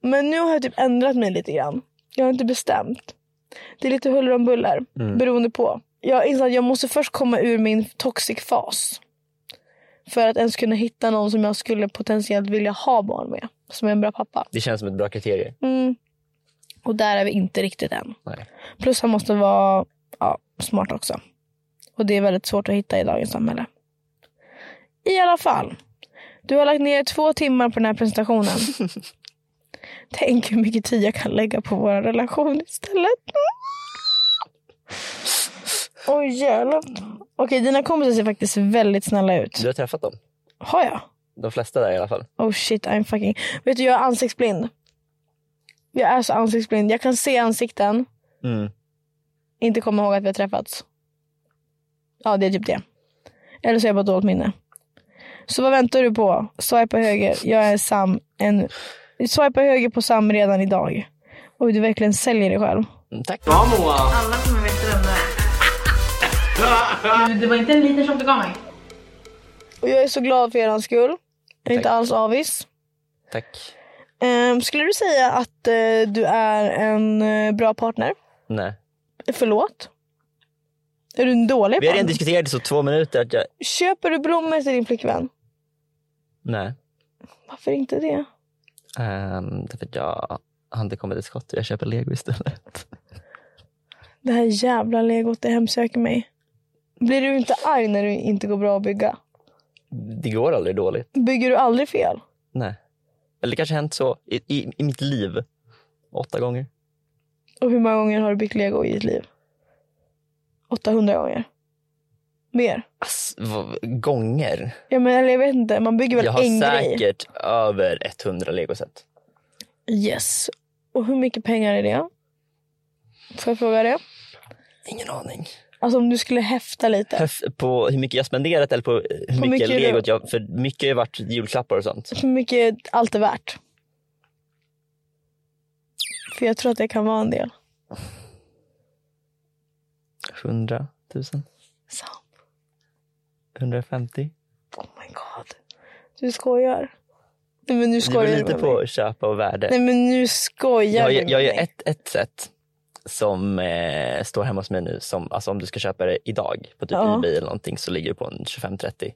Speaker 3: Men nu har jag typ ändrat mig lite grann. Jag har inte bestämt. Det är lite huller om buller,
Speaker 2: Mm.
Speaker 3: beroende på. Jag inser att jag måste först komma ur min toxic fas. För att ens kunna hitta någon som jag skulle potentiellt vilja ha barn med. Som är en bra pappa.
Speaker 2: Det känns som ett bra kriterie.
Speaker 3: Mm. Och där är vi inte riktigt än.
Speaker 2: Nej.
Speaker 3: Plus han måste vara ja, smart också. Och det är väldigt svårt att hitta i dagens samhälle. I alla fall. Du har lagt ner två timmar på den här presentationen. Tänk hur mycket tid jag kan lägga på vår relation istället. Oj jävlar. Okej, dina kompisar ser faktiskt väldigt snälla ut.
Speaker 2: Du har träffat dem?
Speaker 3: Har jag?
Speaker 2: De flesta där i alla fall.
Speaker 3: Oh shit, I'm fucking... Vet du, jag är ansiktsblind. Jag är så ansiktsblind. Jag kan se ansikten.
Speaker 2: Mm.
Speaker 3: inte komma ihåg att vi har träffats. Ja, det är typ det. Eller så är jag bara dåligt minne. Så vad väntar du på? Swipa höger. Jag är Sam. En... Swipa höger på Sam redan idag. Oj, du verkligen säljer dig själv.
Speaker 2: Mm, Tack.
Speaker 4: Alla kommer veta vem det är. Du, det var inte en liten tjock du gav mig.
Speaker 3: Och jag är så glad för er skull. Jag är inte
Speaker 2: Tack.
Speaker 3: alls avis.
Speaker 2: Tack.
Speaker 3: Ehm, skulle du säga att eh, du är en eh, bra partner?
Speaker 2: Nej.
Speaker 3: Förlåt? Är du en dålig
Speaker 2: Vi har redan
Speaker 3: man?
Speaker 2: diskuterat i så två minuter att jag...
Speaker 3: Köper du blommor till din flickvän?
Speaker 2: Nej.
Speaker 3: Varför inte det?
Speaker 2: Um, därför att jag har inte kommit till skott. Jag köper lego istället.
Speaker 3: Det här jävla legot det hemsöker mig. Blir du inte arg när du inte går bra att bygga?
Speaker 2: Det går aldrig dåligt.
Speaker 3: Bygger du aldrig fel?
Speaker 2: Nej. Eller det kanske har hänt så i, i, i mitt liv. Åtta gånger.
Speaker 3: Och hur många gånger har du byggt lego i ditt liv? 800 gånger. Mer?
Speaker 2: Ass, vad, gånger?
Speaker 3: Ja, men, eller jag vet inte, man bygger väl
Speaker 2: Jag har
Speaker 3: en grej?
Speaker 2: säkert över 100 legoset.
Speaker 3: Yes. Och hur mycket pengar är det? Får jag fråga det?
Speaker 2: Ingen aning.
Speaker 3: Alltså om du skulle häfta lite.
Speaker 2: Höf- På hur mycket jag spenderat eller på eh, hur mycket,
Speaker 3: mycket du-
Speaker 2: legot jag... För mycket har ju varit julklappar och sånt.
Speaker 3: Hur mycket allt är värt? För jag tror att det kan vara en del.
Speaker 2: 100 000?
Speaker 3: Så.
Speaker 2: 150?
Speaker 3: Oh my god. Du skojar. Nej men nu
Speaker 2: Det beror
Speaker 3: skojar du
Speaker 2: lite
Speaker 3: med
Speaker 2: på
Speaker 3: mig.
Speaker 2: köpa och värde.
Speaker 3: Nej men nu
Speaker 2: jag,
Speaker 3: skojar du
Speaker 2: jag,
Speaker 3: med
Speaker 2: jag gör
Speaker 3: mig.
Speaker 2: ett, ett sätt som eh, står hemma hos mig nu. Som, alltså om du ska köpa det idag på typ
Speaker 3: Ja.
Speaker 2: Ebay eller någonting så ligger det på en 25-30.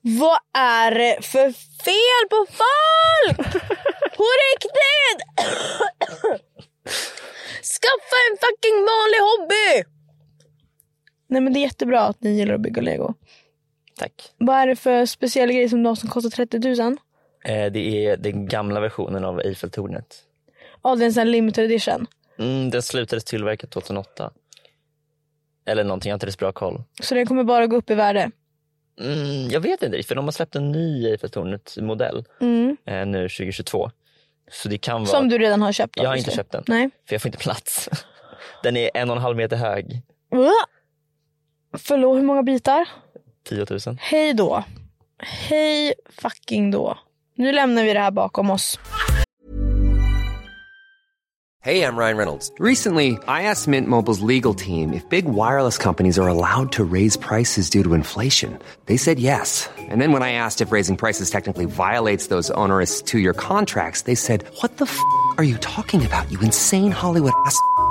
Speaker 3: Vad är det för fel på folk? På riktigt! Skaffa en fucking vanlig hobby! Nej men det är jättebra att ni gillar att bygga lego.
Speaker 2: Tack.
Speaker 3: Vad är det för speciell grej som du har som kostar 30 000?
Speaker 2: Eh, det är den gamla versionen av Eiffeltornet.
Speaker 3: Ja det är en sån här limited edition.
Speaker 2: Mm, den slutades tillverka 2008. Eller någonting, jag har inte så bra koll.
Speaker 3: Så den kommer bara gå upp i värde.
Speaker 2: Mm, jag vet inte riktigt, för de har släppt en ny Eiffeltornet-modell
Speaker 3: Mm.
Speaker 2: eh, nu 2022. Så det kan vara...
Speaker 3: Som du redan har köpt
Speaker 2: jag har inte
Speaker 3: obviously.
Speaker 2: köpt den,
Speaker 3: Nej.
Speaker 2: för jag får inte plats. Den är en och en halv meter hög.
Speaker 3: Va? Förlåt, hur många bitar?
Speaker 2: 10 000.
Speaker 3: Hej då. Hej fucking då. Nu lämnar vi det här bakom oss.
Speaker 6: Hey, I'm Ryan Reynolds. Recently, I asked Mint Mobile's legal team if big wireless companies are allowed to raise prices due to inflation. They said yes. And then when I asked if raising prices technically violates those onerous two year contracts, they said, What the f are you talking about, you insane Hollywood ass? f- a-"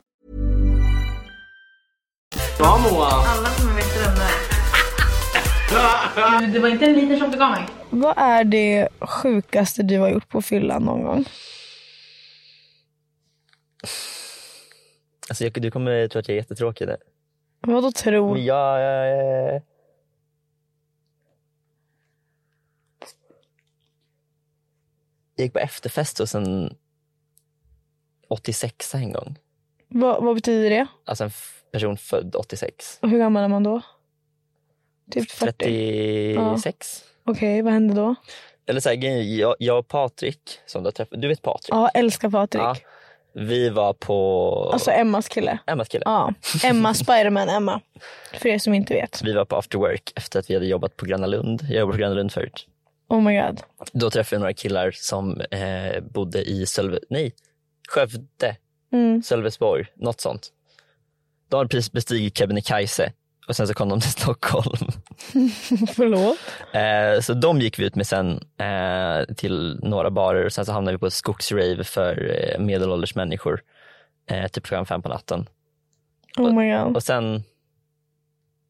Speaker 4: Alla som är vet vem det är. Men Det var inte en liter som du gav mig.
Speaker 3: Vad är det sjukaste du har gjort på fyllan någon gång?
Speaker 2: Alltså, jag, du kommer tro att jag är jättetråkig där.
Speaker 3: Vadå tro?
Speaker 2: Men jag... eh, Jag gick på efterfest hos en 86 en gång.
Speaker 3: Vad, vad betyder det?
Speaker 2: Alltså en f- person född 86.
Speaker 3: Och hur gammal är man då? Typ 40?
Speaker 2: 36.
Speaker 3: Okej, vad hände då?
Speaker 2: Eller så här, grejen är, jag, jag och Patrik, som du har träffat, du vet Patrik?
Speaker 3: Ja, älskar Patrik.
Speaker 2: Ja. Vi var på
Speaker 3: Alltså Emmas kille.
Speaker 2: Emmas kille.
Speaker 3: Ja, Emma, Spiderman Emma. För er som inte vet.
Speaker 2: Vi var på after work efter att vi hade jobbat på Gröna Lund. Jag jobbade på Gröna Lund förut.
Speaker 3: Oh my god.
Speaker 2: Då träffade jag några killar som eh, bodde i Sölve, nej, Skövde,
Speaker 3: Mm.
Speaker 2: Sölvesborg, något sånt. De hade precis bestigit Kebnekaise och sen så kom de till Stockholm.
Speaker 3: Förlåt.
Speaker 2: Eh, så de gick vi ut med sen eh, till några barer och sen så hamnade vi på ett skogsrave för eh, medelålders människor. Eh, typ klockan fem på natten.
Speaker 3: Oh my god.
Speaker 2: Och sen,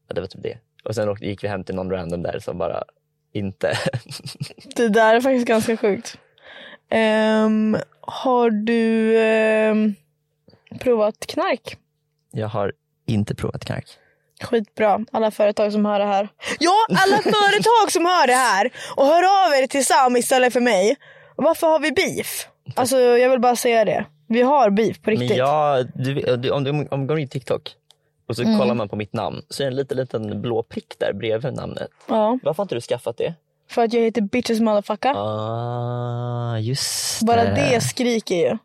Speaker 2: ja, det var typ det. Och sen åkte- gick vi hem till någon random där som bara inte.
Speaker 3: Det där är faktiskt ganska sjukt. Ehm, har du ehm, provat knark?
Speaker 2: Jag har inte provat knark.
Speaker 3: Skitbra, alla företag som hör det här. Ja, alla företag som hör det här! Och hör av er till Sam istället för mig. Varför har vi beef? Alltså jag vill bara säga det. Vi har beef på riktigt.
Speaker 2: Men jag, du, du, om du om du går in i TikTok och så kollar man på mitt namn så är det en liten, liten blå prick där bredvid namnet.
Speaker 3: Ja,
Speaker 2: Varför har inte du skaffat det?
Speaker 3: för att jag heter bitches motherfucker.
Speaker 2: Ah, just
Speaker 3: Bara det skriker ju.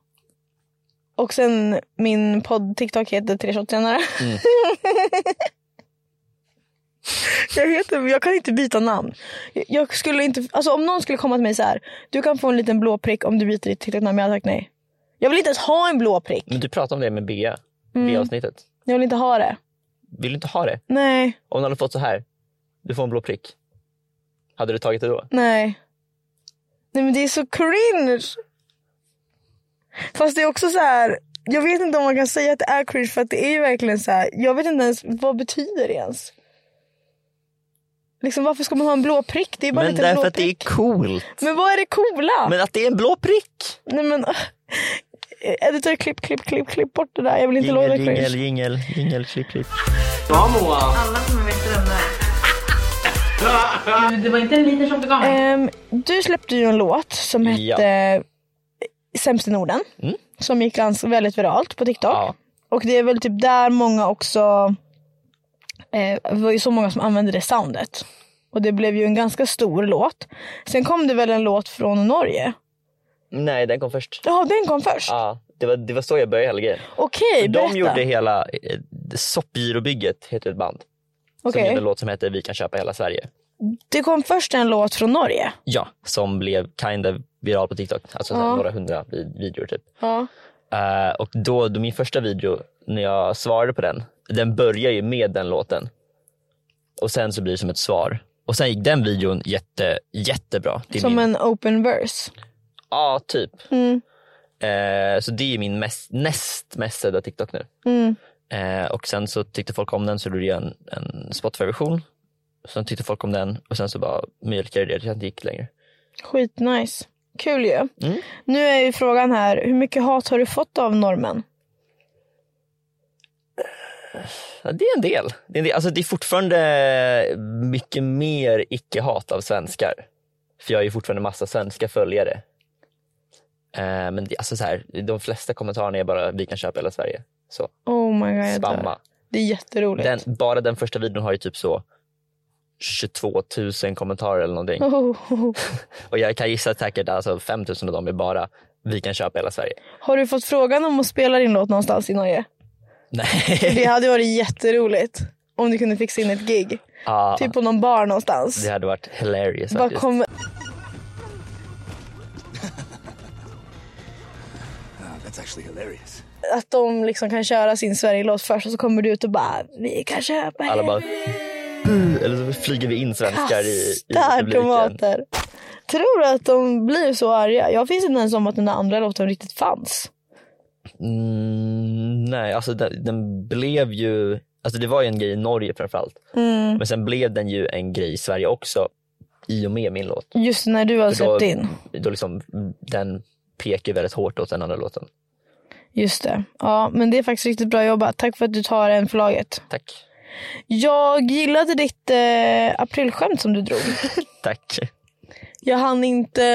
Speaker 3: Och sen min podd TikTok heter Tre shot senare. Jag, heter, jag kan inte byta namn. Jag- Jag skulle inte, alltså om någon skulle komma till mig så här. Du kan få en liten blå prick om du byter ditt riktiga namn. Jag hade sagt nej. Jag vill inte ens ha en blå prick.
Speaker 2: Men du pratade om det med Bea,
Speaker 3: Mm.
Speaker 2: Bea-avsnittet.
Speaker 3: Jag vill inte ha det.
Speaker 2: Vill du inte ha det?
Speaker 3: Nej,
Speaker 2: Om du hade fått så här, du får en blå prick. Hade du tagit det då?
Speaker 3: nej. Nej men det är så cringe. Fast det är också så här. Jag vet inte om man kan säga att det är cringe för att det är ju verkligen så här. Jag vet inte ens vad betyder det ens. Liksom varför ska man ha en blå prick? Det är bara
Speaker 2: Men
Speaker 3: lite blå
Speaker 2: därför att det är
Speaker 3: prick.
Speaker 2: coolt.
Speaker 3: Men vad är det coola?
Speaker 2: Men att det är en blå prick!
Speaker 3: Nej men. eh, Editor, klipp, klipp, klipp, klipp bort det där. Jag vill inte låta
Speaker 2: Jingel,
Speaker 3: cringe.
Speaker 2: jingel, jingel, jingel, klipp, klipp.
Speaker 4: Alla kommer veta vem det är. Men det var inte en liten tjock begåvning.
Speaker 3: Ehm, du släppte ju en låt som
Speaker 2: Ja. Mm.
Speaker 3: hette Sämst i Norden. Som gick ganska väldigt viralt på TikTok.
Speaker 2: Ja.
Speaker 3: Och det är väl typ där många också, eh, det var ju så många som använde det soundet. Och det blev ju en ganska stor låt. Sen kom det väl en låt från Norge.
Speaker 2: Nej, den kom först.
Speaker 3: Jaha, den kom först?
Speaker 2: Ja, det, var, det var så jag började hela grejen.
Speaker 3: Okej, berätta.
Speaker 2: De gjorde hela eh, Soppgirobygget, heter ett band. Som
Speaker 3: Okej.
Speaker 2: gjorde en låt som heter Vi kan köpa hela Sverige.
Speaker 3: Det kom först en låt från Norge.
Speaker 2: Ja, som blev kind of viral på TikTok. Alltså så här
Speaker 3: Ja.
Speaker 2: några hundra vid- videor typ.
Speaker 3: Ja.
Speaker 2: Eh, och då, då min första video, när jag svarade på den, den börjar ju med den låten. Och sen så blir det som ett svar. Och sen gick den videon jätte, jättebra. Det är
Speaker 3: Som
Speaker 2: min-
Speaker 3: en open verse.
Speaker 2: Ja, typ.
Speaker 3: Mm.
Speaker 2: Eh, så det är min mest, näst mest sedda TikTok nu.
Speaker 3: Mm.
Speaker 2: Eh, och sen så tyckte folk om den så gjorde jag en, en Spotify-version. Sen tyckte folk om den och sen så bara mjölkade jag det tills jag inte gick längre.
Speaker 3: Skitnice. Kul ju.
Speaker 2: Mm.
Speaker 3: Nu är ju frågan här, hur mycket hat har du fått av norrmän?
Speaker 2: Ja, det är en del. Det är, en del. Alltså, det är fortfarande mycket mer icke-hat av svenskar. För jag har ju fortfarande massa svenska följare. Eh, men det, alltså så här, de flesta kommentarerna är bara vi kan köpa hela Sverige. Så
Speaker 3: Oh my god. jag dör.
Speaker 2: spamma.
Speaker 3: Det är jätteroligt.
Speaker 2: Den, bara den första videon har ju typ så 22 000 kommentarer eller någonting.
Speaker 3: Oh.
Speaker 2: Och jag kan gissa säkert alltså 5 000 av dem är bara vi kan köpa hela Sverige.
Speaker 3: Har du fått frågan om att spela din låt någonstans i Norge?
Speaker 2: Nej.
Speaker 3: Det hade varit jätteroligt. Om du kunde fixa in ett gig.
Speaker 2: Ja,
Speaker 3: Typ på någon bar någonstans.
Speaker 2: Det hade varit hilarious
Speaker 3: Bara
Speaker 2: faktiskt.
Speaker 3: kom...
Speaker 7: Ah, That's actually hilarious.
Speaker 3: Att de liksom kan köra sin Sverigelåt först och så kommer du ut och bara vi kan köpa
Speaker 2: Alla
Speaker 3: er."
Speaker 2: bara eller så flyger vi in svenskar i, i
Speaker 3: Kastar
Speaker 2: publiken.
Speaker 3: tomater. Tror du att de blir så arga? Jag finns inte ens om att den där andra låten riktigt fanns.
Speaker 2: Mm, nej, alltså den, den blev ju, alltså det var ju en grej i Norge framförallt.
Speaker 3: Mm.
Speaker 2: Men sen blev den ju en grej i Sverige också i och med min låt.
Speaker 3: Just när du har
Speaker 2: För då-
Speaker 3: släppt in.
Speaker 2: Då liksom, den pekar ju väldigt hårt åt den andra låten.
Speaker 3: Just det. Ja, men det är faktiskt riktigt bra jobbat. Tack för att du tar en för laget.
Speaker 2: Tack.
Speaker 3: Jag gillade ditt eh, aprilskämt som du drog.
Speaker 2: Tack.
Speaker 3: Jag hann inte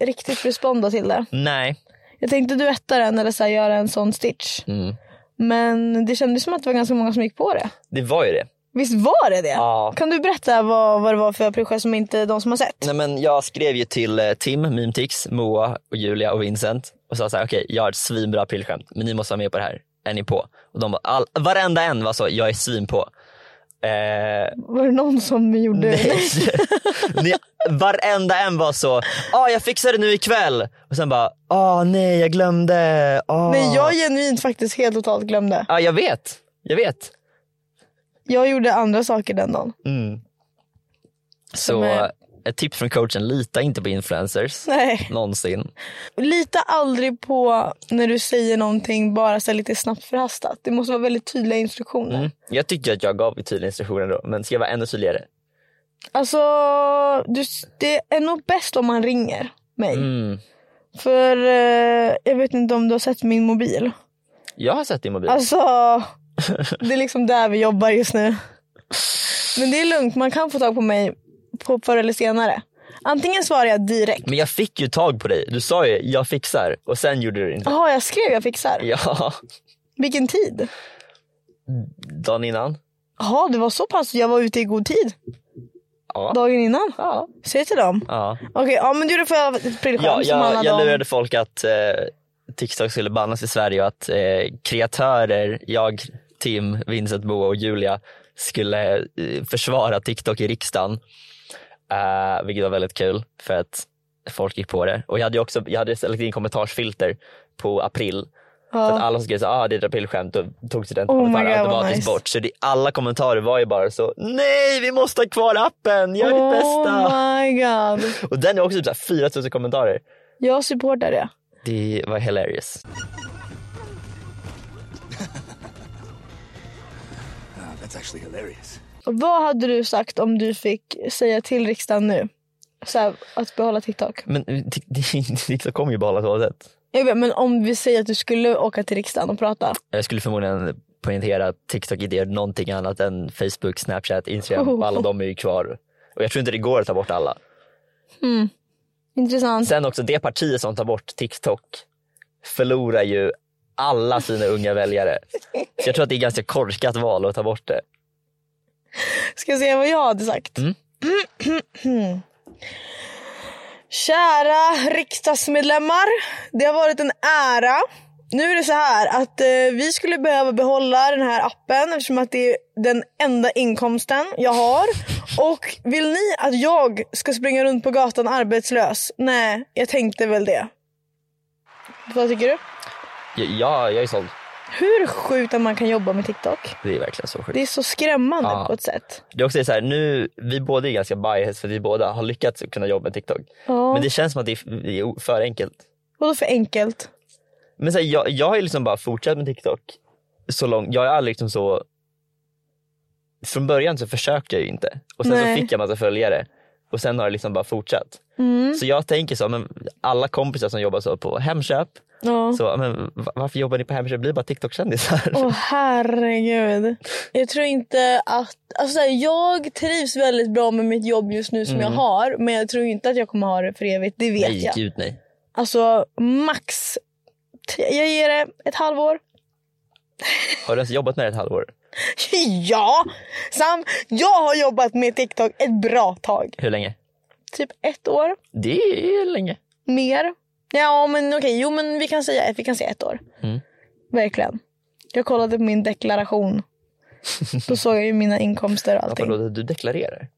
Speaker 3: eh, riktigt responda till det.
Speaker 2: Nej.
Speaker 3: Jag tänkte duetta den eller så här, göra en sån stitch.
Speaker 2: Mm.
Speaker 3: Men det kändes som att det var ganska många som gick på det.
Speaker 2: Det var ju det.
Speaker 3: Visst var det det?
Speaker 2: Ja.
Speaker 3: Kan du berätta vad, vad det var för aprilskämt som inte de som har sett?
Speaker 2: Nej, men jag skrev ju till eh, Tim, Mimtix, Moa, och Julia och Vincent och sa så här, okej jag har ett svinbra aprilskämt men ni måste vara med på det här. Är ni på? Och de bara, all, varenda en var så, jag är svin på. Eh,
Speaker 3: Var det någon som gjorde
Speaker 2: nej. ni, varenda en var så, ah, jag fixar det nu ikväll. Och sen bara, ah, nej jag glömde. Ah.
Speaker 3: Nej, jag genuint faktiskt helt totalt glömde.
Speaker 2: Ja, jag vet, jag vet.
Speaker 3: Jag gjorde andra saker den dagen.
Speaker 2: Mm.
Speaker 3: Som
Speaker 2: Så
Speaker 3: är-
Speaker 2: ett tips från coachen, lita inte på influencers.
Speaker 3: Nej.
Speaker 2: Någonsin.
Speaker 3: Lita aldrig på när du säger någonting bara så här lite snabbt förhastat. Det måste vara väldigt tydliga instruktioner.
Speaker 2: Mm. Jag tycker att jag gav tydliga instruktioner då, men ska jag vara ännu tydligare?
Speaker 3: Alltså, du, det är nog bäst om man ringer mig.
Speaker 2: Mm.
Speaker 3: För eh, jag vet inte om du har sett min mobil.
Speaker 2: Jag har sett din mobil.
Speaker 3: Alltså, det är liksom där vi jobbar just nu. Men det är lugnt, man kan få tag på mig på förr eller senare. Antingen svarar jag direkt.
Speaker 2: Men jag fick ju tag på dig. Du sa ju jag fixar och sen gjorde du det inte.
Speaker 3: Jaha, jag skrev jag fixar.
Speaker 2: Ja,
Speaker 3: Vilken tid?
Speaker 2: dagen innan.
Speaker 3: Jaha, det var så pass. Jag var ute i god tid.
Speaker 2: Ja.
Speaker 3: Dagen innan. Ja. Säg till dem.
Speaker 2: Ja,
Speaker 3: Okej, ja men du det får jag ett aprilskämt
Speaker 2: ja
Speaker 3: som alla
Speaker 2: jag, jag
Speaker 3: de-
Speaker 2: lurade folk att eh, TikTok skulle bannas i Sverige och att eh, kreatörer, jag, Tim, Vincent Boa och Julia skulle eh, försvara TikTok i riksdagen. Eh, vilket var väldigt kul för att folk gick på det. Och jag hade ju också jag hade lagt in kommentarsfilter på april. Så att
Speaker 3: Ja.
Speaker 2: alla som skrev så ah, det är ett aprilskämt och tog
Speaker 3: Oh
Speaker 2: studentkommentarer
Speaker 3: my God, vad
Speaker 2: automatiskt
Speaker 3: nice.
Speaker 2: bort. Så det, alla kommentarer var ju bara så, nej vi måste ha kvar appen, gör ditt bästa.
Speaker 3: Oh my god.
Speaker 2: Och den är också typ så här 4000 kommentarer.
Speaker 3: Jag supportar det.
Speaker 2: Det var hilarious.
Speaker 7: Ah, that's actually hilarious.
Speaker 3: Vad hade du sagt om du fick säga till riksdagen nu? Så här, att behålla TikTok.
Speaker 2: Men eh, Tik- Tik- TikTok kommer ju behålla tåget.
Speaker 3: Jag vet, men om vi säger att du skulle åka till riksdagen och prata.
Speaker 2: Jag skulle förmodligen poängtera att TikTok inte gör någonting annat än Facebook, Snapchat, Instagram.
Speaker 3: Oh.
Speaker 2: Alla de är ju kvar. Och jag tror inte det går att ta bort alla.
Speaker 3: Intressant.
Speaker 2: Sen också det partiet som tar bort TikTok förlorar ju alla sina unga väljare. Så jag tror att det är ett ganska korkat val att ta bort det.
Speaker 3: Ska jag säga vad jag hade sagt?
Speaker 2: Mm.
Speaker 3: Kära riksdagsmedlemmar. Det har varit en ära. Nu är det så här att eh, vi skulle behöva behålla den här appen eftersom att det är den enda inkomsten jag har. Och vill ni att jag ska springa runt på gatan arbetslös? Nej, jag tänkte väl det. Vad tycker du?
Speaker 2: Ja, Ja, jag är såld.
Speaker 3: Hur sjukt att man kan jobba med TikTok.
Speaker 2: Det är verkligen så sjukt.
Speaker 3: Det är så skrämmande
Speaker 2: Ja.
Speaker 3: på ett sätt.
Speaker 2: Det är också så här, nu, vi båda är ganska biased för vi båda har lyckats kunna jobba med TikTok.
Speaker 3: Ja.
Speaker 2: Men det känns som att det är det är för enkelt.
Speaker 3: Vadå för enkelt?
Speaker 2: Men så här, jag, jag har ju liksom bara fortsatt med TikTok så långt. Jag är aldrig liksom så... Från början så försökte jag ju inte. Och sen
Speaker 3: Nej.
Speaker 2: så fick jag massa följare. Och sen har det liksom bara fortsatt.
Speaker 3: Mm.
Speaker 2: Så jag tänker så, men alla kompisar som jobbar så på Hemköp.
Speaker 3: Ja.
Speaker 2: Så, men, va- varför jobbar ni på Hemköp? Bli bara TikTok-kändisar.
Speaker 3: Åh herregud. Jag tror inte att... Alltså, så här, jag trivs väldigt bra med mitt jobb just nu som jag har. Men jag tror inte att jag kommer ha det för evigt. Det vet
Speaker 2: Mm. nej,
Speaker 3: jag.
Speaker 2: gud nej.
Speaker 3: Alltså max... t- Jag ger det ett halvår.
Speaker 2: Har du ens jobbat med det ett halvår?
Speaker 3: ja! Sam, jag har jobbat med TikTok ett bra tag.
Speaker 2: Hur länge?
Speaker 3: Typ ett år.
Speaker 2: Det är länge.
Speaker 3: Mer. Ja men okej, jo men vi kan säga, vi kan säga ett år.
Speaker 2: Mm.
Speaker 3: Verkligen. Jag kollade på min deklaration. Då såg jag ju mina inkomster och allting.
Speaker 2: Förlåt, du deklarerar?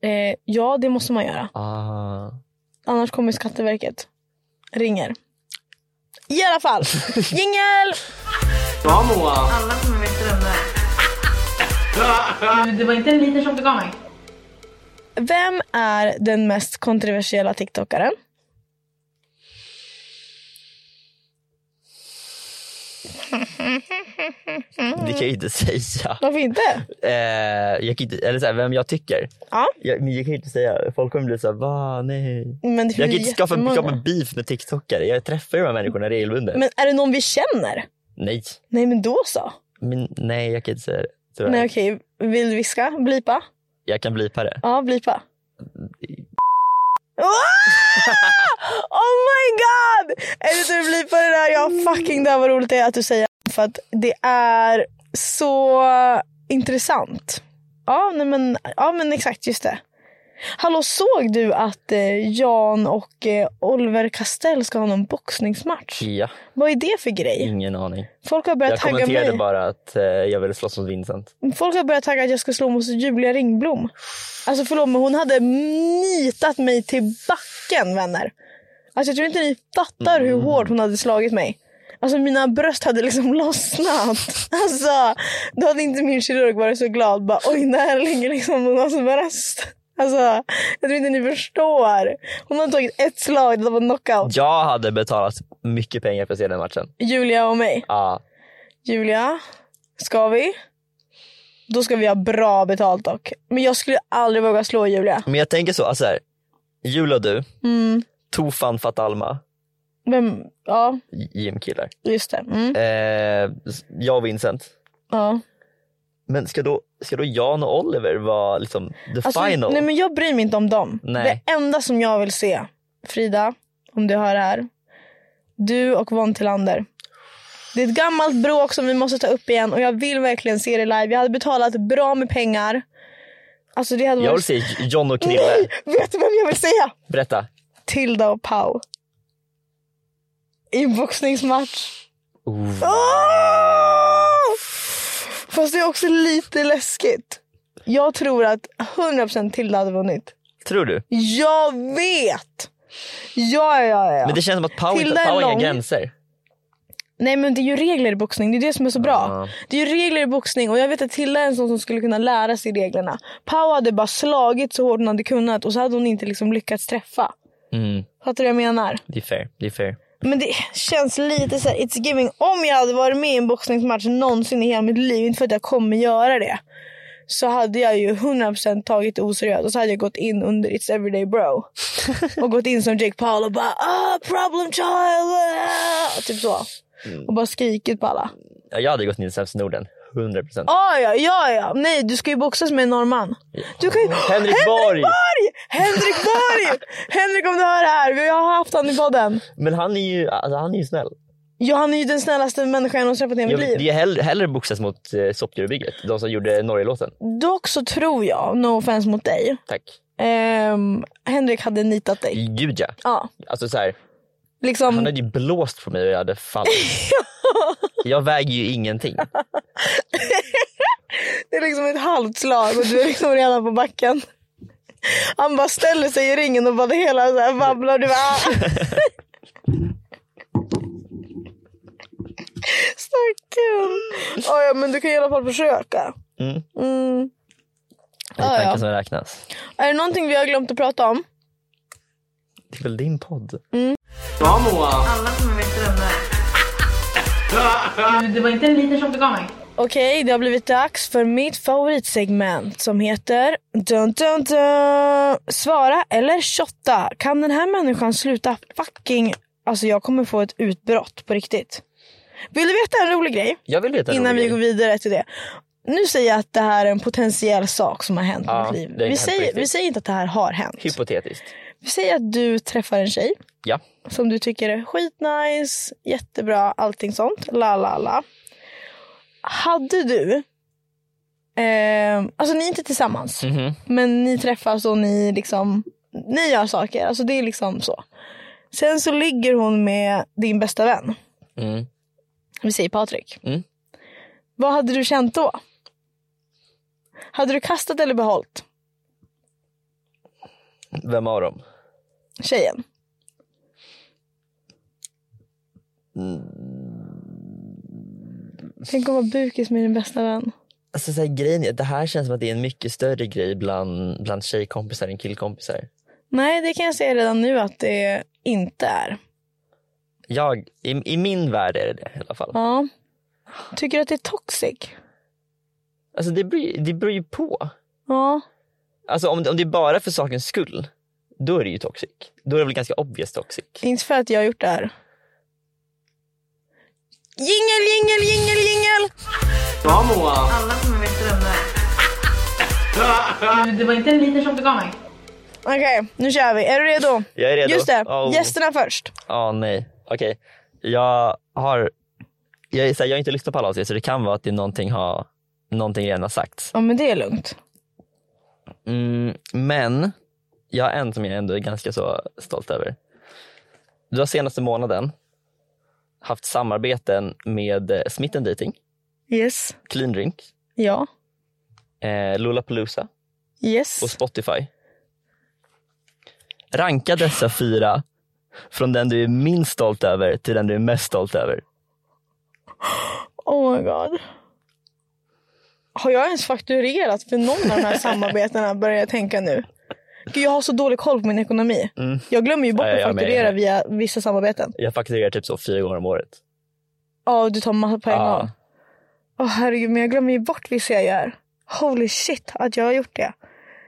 Speaker 3: Eh, ja, det måste man göra.
Speaker 2: Ah.
Speaker 3: Mm. Annars kommer Skatteverket. Ringer. I alla fall. Jingel!
Speaker 4: Alla kommer veta vem det är. Men Det var inte en liten tjock du gav mig.
Speaker 3: Vem är den mest kontroversiella TikTokaren?
Speaker 2: Det kan jag ju inte säga.
Speaker 3: Varför inte?
Speaker 2: Eh, jag kan inte, eller så här, vem jag tycker.
Speaker 3: Ja.
Speaker 2: Jag, men jag kan ju inte säga, folk kommer bli såhär, va nej.
Speaker 3: Men det är
Speaker 2: Jag kan
Speaker 3: ju
Speaker 2: inte skaffa,
Speaker 3: jättemånga.
Speaker 2: skaffa en beef med TikTokare. Jag träffar ju de här människorna regelbundet.
Speaker 3: Men är det någon vi känner?
Speaker 2: Nej,
Speaker 3: Nej men då så.
Speaker 2: men, nej jag kan inte säga det. Tyvärr.
Speaker 3: Nej okej, vill du viska? Blipa?
Speaker 2: Jag kan blipa det.
Speaker 3: Ja, blipa. Oh my god! Eller du blir på det där, jag fucking dör vad roligt det är att du säger För att det är så intressant. Ja, nej men, ja men exakt just det. Hallå såg du att eh, Jan och eh, Oliver Castell ska ha någon boxningsmatch?
Speaker 2: Ja,
Speaker 3: Vad är det för grej?
Speaker 2: ingen aning.
Speaker 3: Folk har börjat
Speaker 2: Jag
Speaker 3: tagga
Speaker 2: kommenterade
Speaker 3: mig.
Speaker 2: bara att eh, jag ville slåss mot Vincent.
Speaker 3: Folk har börjat tagga att jag ska slå mot Julia Ringblom. Alltså förlåt men hon hade nitat mig till backen vänner. Alltså jag tror inte ni fattar hur hårt hon hade slagit mig. Alltså mina bröst hade liksom lossnat. Alltså då hade inte min kirurg varit så glad. Bara oj där ligger liksom Jonas bröst. Alltså jag tror inte ni förstår. Hon hade tagit ett slag, det var knockout.
Speaker 2: Jag hade betalat mycket pengar för att se den matchen.
Speaker 3: Julia och mig.
Speaker 2: Ja,
Speaker 3: Julia, ska vi? Då ska vi ha bra betalt dock. Men jag skulle aldrig våga slå Julia.
Speaker 2: Men jag tänker så, alltså här, Julia och du, Tofan Fatalma,
Speaker 3: Vem? Ja,
Speaker 2: JM-killar.
Speaker 3: just det. Mm.
Speaker 2: Eh, jag och Vincent.
Speaker 3: Ja.
Speaker 2: Men ska då, ska då Jan och Oliver vara liksom the
Speaker 3: Alltså,
Speaker 2: final?
Speaker 3: nej men jag bryr mig inte om dem.
Speaker 2: Nej.
Speaker 3: Det enda som jag vill se, Frida, om du hör det här. Du och Von Tillander. Det är ett gammalt bråk som vi måste ta upp igen och jag vill verkligen se det live. Jag hade betalat bra med pengar. Alltså det hade
Speaker 2: Jag vill
Speaker 3: varit...
Speaker 2: se John och Krille.
Speaker 3: Nej! Vet du vem jag vill säga?
Speaker 2: Berätta.
Speaker 3: Tilda och Pau. I en boxningsmatch.
Speaker 2: Oh.
Speaker 3: Åh! Ah! Fast Fast det är också lite läskigt. Jag tror att 100% Tilda hade vunnit.
Speaker 2: Tror du?
Speaker 3: Jag vet! Ja, ja, ja.
Speaker 2: Men det känns som att power,
Speaker 3: Tilda är
Speaker 2: power har inga
Speaker 3: lång.
Speaker 2: gränser.
Speaker 3: Nej men det är ju regler i boxning, det är det som är så bra.
Speaker 2: Ja.
Speaker 3: Det är ju regler i boxning och jag vet att Tilda är en sån som skulle kunna lära sig reglerna. Pau hade bara slagit så hårt hon hade kunnat och så hade hon inte liksom lyckats träffa.
Speaker 2: Mm,
Speaker 3: Fattar du vad jag menar?
Speaker 2: det är fair. Det är fair.
Speaker 3: Men det känns lite så här, it's giving. Om jag hade varit med i en boxningsmatch någonsin i hela mitt liv, inte för att jag kommer göra det. Så hade jag ju 100% tagit det oseriöst och så hade jag gått in under It's Everyday Bro. och gått in som Jake Paul och bara ah, problem child. Ah, typ så.
Speaker 2: Mm.
Speaker 3: Och bara skrikit på alla.
Speaker 2: Ja, Jag hade gått in i Sämst i Norden. 100 procent.
Speaker 3: Ah, ja, ja, ja. Nej, du ska ju boxas med en norrman. Du kan ju...
Speaker 2: Henrik Borg!
Speaker 3: Borg! Henrik Borg! Henrik om du hör det här, vi har haft han i podden.
Speaker 2: Men han är ju, alltså, han är ju snäll.
Speaker 3: Ja, han är ju den snällaste människan jag någonsin träffat i hela
Speaker 2: Jag,
Speaker 3: mitt liv.
Speaker 2: det är hellre, hellre boxas mot eh, Soppdjurobygget. De som gjorde Norge-låten.
Speaker 3: Dock så tror jag, no offense mot dig,
Speaker 2: Tack.
Speaker 3: ehm, Henrik hade nitat dig.
Speaker 2: Gud ja.
Speaker 3: Ja,
Speaker 2: Alltså så här,
Speaker 3: liksom.
Speaker 2: han hade ju blåst på mig och jag hade fallit. jag väger ju ingenting.
Speaker 3: Det är liksom ett halvt slag och du är liksom redan på backen. Han bara ställer sig i ringen och bara det hela så här vabblar. Du bara... "Ah." Stackarn. Ja, ja, men du kan i alla fall försöka.
Speaker 2: Mm.
Speaker 3: Mm.
Speaker 2: Det är tanken
Speaker 3: ja.
Speaker 2: som räknas.
Speaker 3: Är det någonting vi har glömt att prata om?
Speaker 2: Det är väl din podd?
Speaker 4: Alla kommer bli drömmare. Det var inte en liter som begav mig.
Speaker 3: Okej, det har blivit dags för mitt favoritsegment som heter dun, dun, dun, Svara eller shotta. Kan den här människan sluta fucking... Alltså jag kommer få ett utbrott på riktigt. Vill du veta en rolig grej?
Speaker 2: Jag vill veta en
Speaker 3: Innan
Speaker 2: rolig
Speaker 3: vi
Speaker 2: grej.
Speaker 3: går vidare till det. Nu säger jag att det här är en potentiell sak som har hänt i
Speaker 2: Ja,
Speaker 3: mitt
Speaker 2: det har
Speaker 3: liv. Vi
Speaker 2: hänt på
Speaker 3: säger,
Speaker 2: riktigt.
Speaker 3: vi säger inte att det här har hänt.
Speaker 2: Hypotetiskt.
Speaker 3: Vi säger att du träffar en tjej
Speaker 2: Ja.
Speaker 3: som du tycker är skitnice, jättebra, allting sånt. La, la, la. Hade du... Eh, alltså ni är inte tillsammans,
Speaker 2: Mhm.
Speaker 3: men ni träffas och ni liksom... Ni gör saker, alltså det är liksom så. Sen så ligger hon med din bästa vän,
Speaker 2: Mm.
Speaker 3: vi säger Patrik.
Speaker 2: Mm.
Speaker 3: Vad hade du känt då? Hade du kastat eller behållit
Speaker 2: Vem av dem?
Speaker 3: tjejen?
Speaker 2: Mm.
Speaker 3: Tänk att vara bukis med din bästa vän.
Speaker 2: Alltså så här, grejen är, att det här känns som att det är en mycket större grej bland, bland tjejkompisar än killkompisar.
Speaker 3: Nej, det kan jag säga redan nu att det inte är.
Speaker 2: Jag, i, I min värld är det det i alla fall.
Speaker 3: Ja. Tycker du att det är toxic?
Speaker 2: Alltså det beror, det beror ju på.
Speaker 3: Ja.
Speaker 2: Alltså om, det- om det är bara för sakens skull, då är det ju toxic. Då är det väl ganska obvious toxic.
Speaker 3: Inte för att jag har gjort det här. Jingel, jingel, jingel, jingel!
Speaker 4: Alla kommer bli drömmare. Det var inte en liter som begav mig.
Speaker 3: Okej, nu kör vi. Är du redo?
Speaker 2: Jag är redo.
Speaker 3: Just det,
Speaker 2: Åh.
Speaker 3: gästerna först.
Speaker 2: Ja, nej. Okej. Jag har... Jag, är så här, jag har inte lyssnat på alla avsnitt så det kan vara att det är någonting, har, någonting redan har sagts.
Speaker 3: Ja, men det är lugnt.
Speaker 2: Mm, men jag har en som jag ändå är ganska så stolt över. Du har senaste månaden haft samarbeten med eh, Smitten Dating,
Speaker 3: Yes.
Speaker 2: Clean Drink,
Speaker 3: Ja.
Speaker 2: eh, Lollapalooza
Speaker 3: Yes.
Speaker 2: och Spotify. Ranka dessa fyra från den du är minst stolt över till den du är mest stolt över.
Speaker 3: Oh my god. Har jag ens fakturerat för någon av de här samarbetena börjar jag tänka nu. Gud, jag har så dålig koll på min ekonomi.
Speaker 2: Mm.
Speaker 3: Jag glömmer ju bort
Speaker 2: Ja, ja,
Speaker 3: att
Speaker 2: jag med, jag
Speaker 3: fakturera
Speaker 2: med.
Speaker 3: via vissa samarbeten.
Speaker 2: Jag fakturerar typ så fyra gånger om året.
Speaker 3: Ja, du tar massa på en
Speaker 2: Ja.
Speaker 3: gång. Åh herregud, men jag glömmer ju bort vissa jag gör. Holy shit att jag har gjort det.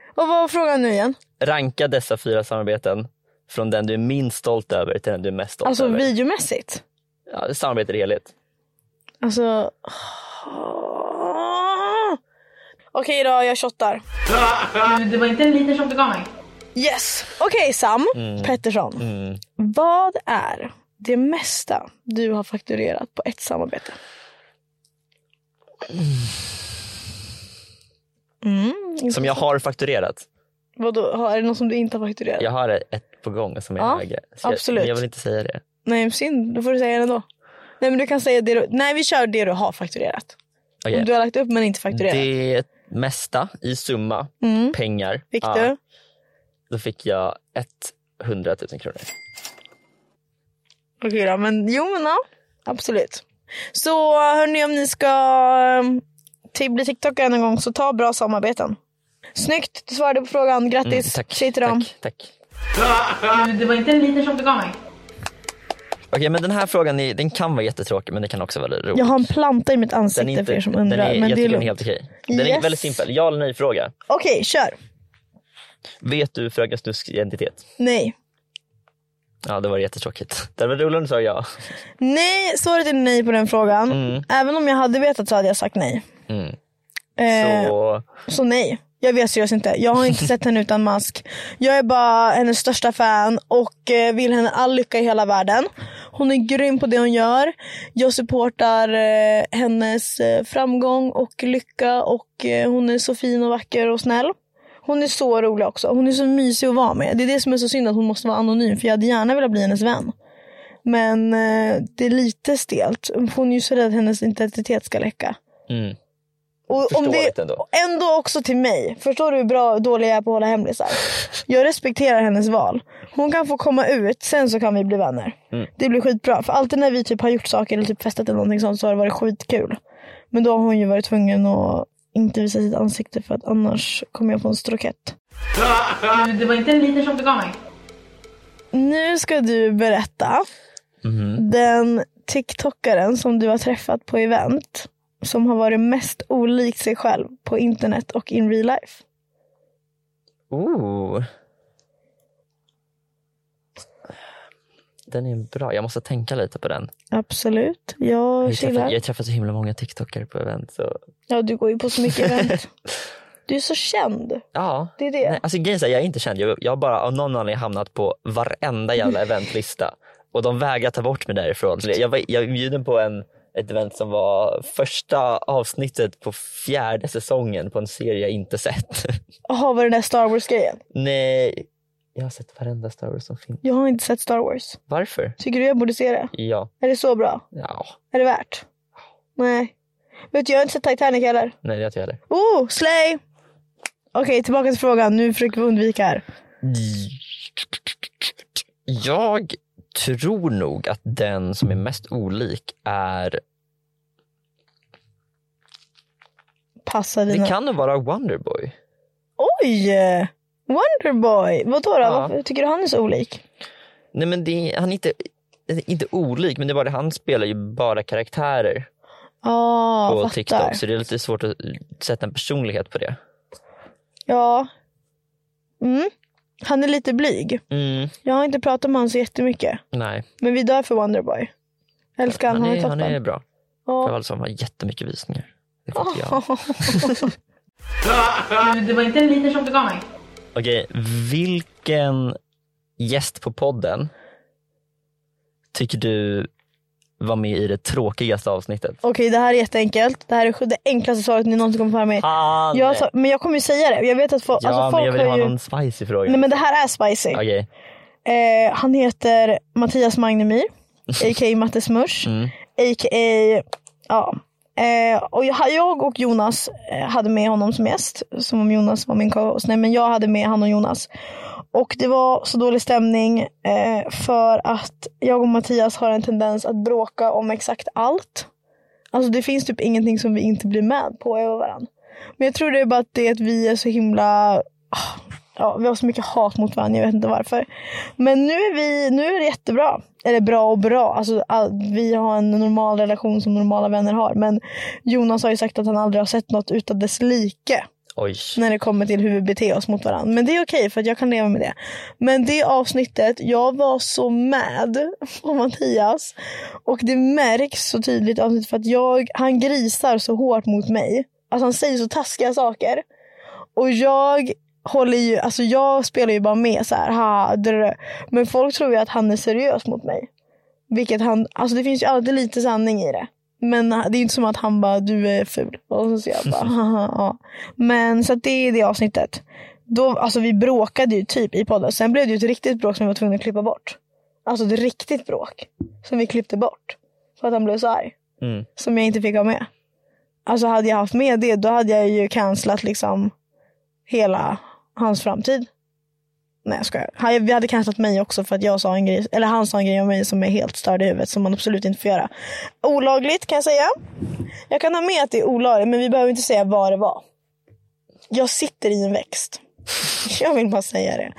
Speaker 3: Och vad var frågan nu igen?
Speaker 2: ranka dessa fyra samarbeten från den du är minst stolt över till den du är mest stolt
Speaker 3: Alltså
Speaker 2: över.
Speaker 3: videomässigt.
Speaker 2: Ja, samarbete i helhet.
Speaker 3: Alltså... Okej då, jag shottar.
Speaker 4: Det var inte en liter som begav mig.
Speaker 3: Yes! Okej Sam Pettersson.
Speaker 2: Mm.
Speaker 3: Vad är det mesta du har fakturerat på ett samarbete? Mm.
Speaker 2: Som jag har fakturerat.
Speaker 3: Vadå, har- är det något som du inte har fakturerat?
Speaker 2: Jag har ett på gång som är
Speaker 3: Ja,
Speaker 2: högre. Så
Speaker 3: absolut.
Speaker 2: Jag, jag vill inte säga det.
Speaker 3: Nej, synd. Då får du säga det då. Nej, men du kan säga det du... Nej, vi kör det du har fakturerat.
Speaker 2: Okej.
Speaker 3: Om du Mm. har lagt upp men inte fakturerat.
Speaker 2: Det mesta i summa pengar.
Speaker 3: Fick
Speaker 2: ja,
Speaker 3: du?
Speaker 2: Då fick jag 100 000 kronor.
Speaker 3: Okej då, men jo men ja. Absolut. Så hörni om ni ska eh, till bli TikTokare någon gång så ta bra samarbeten. Snyggt, du svarade på frågan. Grattis.
Speaker 2: Mm, Tack,
Speaker 3: Tjej till dem.
Speaker 2: tack, tack.
Speaker 4: Det var inte en liten som begav mig.
Speaker 2: Okej, men den här frågan är, den kan vara jättetråkig men den kan också vara väldigt rolig.
Speaker 3: Jag har en planta i mitt
Speaker 2: den
Speaker 3: ansikte
Speaker 2: är inte,
Speaker 3: för er som
Speaker 2: den
Speaker 3: undrar.
Speaker 2: är,
Speaker 3: men
Speaker 2: jag
Speaker 3: det är
Speaker 2: tycker den är
Speaker 3: lugnt.
Speaker 2: helt okej. Den är
Speaker 3: Yes.
Speaker 2: väldigt simpel, ja eller nej fråga.
Speaker 3: Okej, kör.
Speaker 2: Vet du Fröken Snusks identitet?
Speaker 3: Nej.
Speaker 2: Ja, det var jättetråkigt. Det var roligt om du sa ja.
Speaker 3: Nej, svaret är nej på den frågan. Även om jag hade vetat så hade jag sagt nej.
Speaker 2: Mm.
Speaker 3: Eh, så...
Speaker 2: Så,
Speaker 3: nej. Jag vet seriöst inte. Jag har inte sett henne utan mask. Jag är bara hennes största fan och eh, vill henne all lycka i hela världen. Hon är grym på det hon gör. Jag supportar eh, hennes eh, framgång och lycka och eh, hon är så fin och vacker och snäll. Hon är så rolig också. Hon är så mysig att vara med. Det är det som är så synd att hon måste vara anonym för jag hade gärna velat bli hennes vän. Men eh, det är lite stelt. Hon är ju så rädd att hennes identitet ska läcka.
Speaker 2: mm.
Speaker 3: Och om det
Speaker 2: Förståeligt ändå.
Speaker 3: ändå också till mig. Förstår du hur bra och dålig jag är på att hålla hemlisar? Jag respekterar hennes val. Hon kan få komma ut, sen så kan vi bli vänner. Det blir skitbra. För alltid när vi typ har gjort saker eller typ festat eller någonting sånt så har det varit skitkul. Men då har hon ju varit tvungen att inte visa sitt ansikte för att annars kommer jag få en strokett.
Speaker 4: Det var inte en liten som begav mig.
Speaker 3: Nu ska du berätta. Den TikTokaren som du har träffat på event. Som har varit mest olik sig själv på internet och in real life.
Speaker 2: Ooh. Den är bra, jag måste tänka lite på den.
Speaker 3: Absolut. Jag
Speaker 2: Jag träffar,
Speaker 3: chillar.
Speaker 2: jag träffar så himla många TikTokare på event. Så.
Speaker 3: Ja, du går ju på så mycket event. Du är så känd.
Speaker 2: Ja.
Speaker 3: Det är det.
Speaker 2: Nej, alltså, grejen är så här, jag är inte känd, jag, jag har bara av någon anledning hamnat på varenda jävla eventlista. Och de vägrar ta bort mig därifrån. Så jag, var, jag är bjuden på en, ett event som var första avsnittet på fjärde säsongen på en serie jag inte sett.
Speaker 3: Jaha, var det den där Star Wars-grejen?
Speaker 2: Nej, jag har sett varenda Star Wars som finns.
Speaker 3: Jag har inte sett Star Wars.
Speaker 2: Varför?
Speaker 3: Tycker du jag borde se det?
Speaker 2: Ja,
Speaker 3: Är det så bra?
Speaker 2: ja.
Speaker 3: Är det värt? Nej. Vet du, jag har inte sett Titanic heller.
Speaker 2: nej det har inte jag heller.
Speaker 3: Oh, slay! Okej, tillbaka till frågan. Nu försöker vi undvika här.
Speaker 2: Jag tror nog att den som är mest olik är,
Speaker 3: Passa dina...
Speaker 2: det kan nog vara Wonderboy.
Speaker 3: Oj! Wonderboy! Vadå då?
Speaker 2: Ja.
Speaker 3: Varför tycker du han är så olik?
Speaker 2: Nej men det, han är inte, inte olik, men det är bara det, han spelar ju bara karaktärer
Speaker 3: Ja,
Speaker 2: på
Speaker 3: Ah, fattar.
Speaker 2: TikTok. Så det är lite svårt att sätta en personlighet på det.
Speaker 3: Ja. Mm. Han är lite blyg.
Speaker 2: Mm,
Speaker 3: Jag har inte pratat med honom så jättemycket.
Speaker 2: nej,
Speaker 3: Men vi dör för Wonderboy. Älskar han,
Speaker 2: han
Speaker 3: han
Speaker 2: är,
Speaker 3: är toppen.
Speaker 2: han är bra.
Speaker 3: Ja.
Speaker 2: För alltså, han har jättemycket visningar. Det får inte jag.
Speaker 4: Det var inte en liten som begav mig.
Speaker 2: Okej, vilken gäst på podden tycker du var med i det tråkigaste avsnittet?
Speaker 3: Okej, det här är jätteenkelt. Det här är det enklaste svaret ni någonsin kommer få höra mig.
Speaker 2: Han!
Speaker 3: Jag sa, men jag kommer ju säga det. Jag vet att folk,
Speaker 2: ja,
Speaker 3: alltså
Speaker 2: men
Speaker 3: folk
Speaker 2: jag vill
Speaker 3: har
Speaker 2: ha
Speaker 3: ju...
Speaker 2: någon spicy fråga.
Speaker 3: Nej men det här är spicy.
Speaker 2: Okej,
Speaker 3: Eh, han heter Mattias Magnemyr, a.k.a. Matte Smush, a.k.a. Ja. Eh, och jag, jag och Jonas eh, hade med honom som gäst, som om Jonas var min co-host. Nej men jag hade med han och Jonas. Och det var så dålig stämning eh, för att jag och Mattias har en tendens att bråka om exakt allt. Alltså det finns typ ingenting som vi inte blir med på över varandra. Men jag tror det är bara att det är att vi är så himla ah, ja, vi har så mycket hat mot varandra, jag vet inte varför. Men nu är, vi, nu är det jättebra. Eller bra och bra, alltså, all, vi har en normal relation som normala vänner har. Men Jonas har ju sagt att han aldrig har sett något utan dess like
Speaker 2: oj.
Speaker 3: när det kommer till hur vi beter oss mot varandra. Men det är okej för att jag kan leva med det. Men det avsnittet, jag var så mad på Mattias. Och det märks så tydligt i avsnittet för att jag, han grisar så hårt mot mig. Alltså han säger så taskiga saker. Och jag håller ju, alltså jag spelar ju bara med så här, ha, drr. Men folk tror ju att han är seriös mot mig. Vilket han, alltså det finns ju alltid lite sanning i det. Men det är ju inte som att han bara du är ful. Och så jag bara haha, ja. Men så att det är det avsnittet. Då, alltså vi bråkade ju typ i podden. Sen blev det ju ett riktigt bråk som vi var tvungna att klippa bort. Alltså ett riktigt bråk. Som vi klippte bort. För att han blev så arg.
Speaker 2: Mm.
Speaker 3: Som jag inte fick ha med. Alltså hade jag haft med det då hade jag ju cancelat liksom hela hans framtid. Nej jag skojar. Han- Vi hade cancelat mig också för att jag sa en grej, eller han sa en grej om mig som är helt störd i huvudet som man absolut inte får göra. Olagligt kan jag säga. Jag kan ha med att det är olagligt men vi behöver inte säga vad det var. Jag sitter i en växt. Jag vill bara säga det.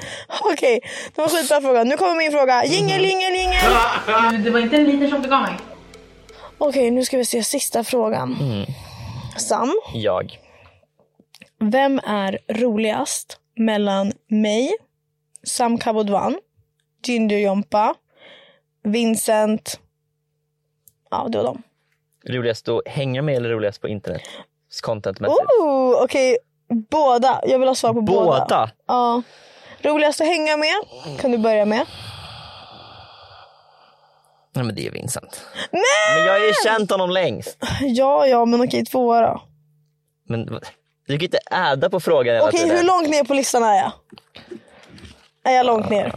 Speaker 3: Okej, det var skitbra fråga. Nu kommer min fråga. Jingel, jingel, jingel!
Speaker 4: Men Det var inte en liter som begav mig.
Speaker 3: Okej, nu ska vi se sista frågan. Sam,
Speaker 2: Jag.
Speaker 3: vem är roligast mellan mig, Sam Kabodvan, Ginger Jompa, Vincent? Ja, det var dem.
Speaker 2: Roligast att hänga med eller roligast på internet? Contentmässigt.
Speaker 3: Oh, Okej, båda. Jag vill ha svar på båda.
Speaker 2: Båda!
Speaker 3: Ja. Roligast att hänga med kan du börja med.
Speaker 2: Nej men det är Vincent. Men jag har ju känt honom längst.
Speaker 3: Ja, ja, men okej, tvåa då.
Speaker 2: Men vad- du kan ju inte äda på frågan hela
Speaker 3: Okej,
Speaker 2: tiden.
Speaker 3: hur långt ner på listan är jag? Är jag långt ner?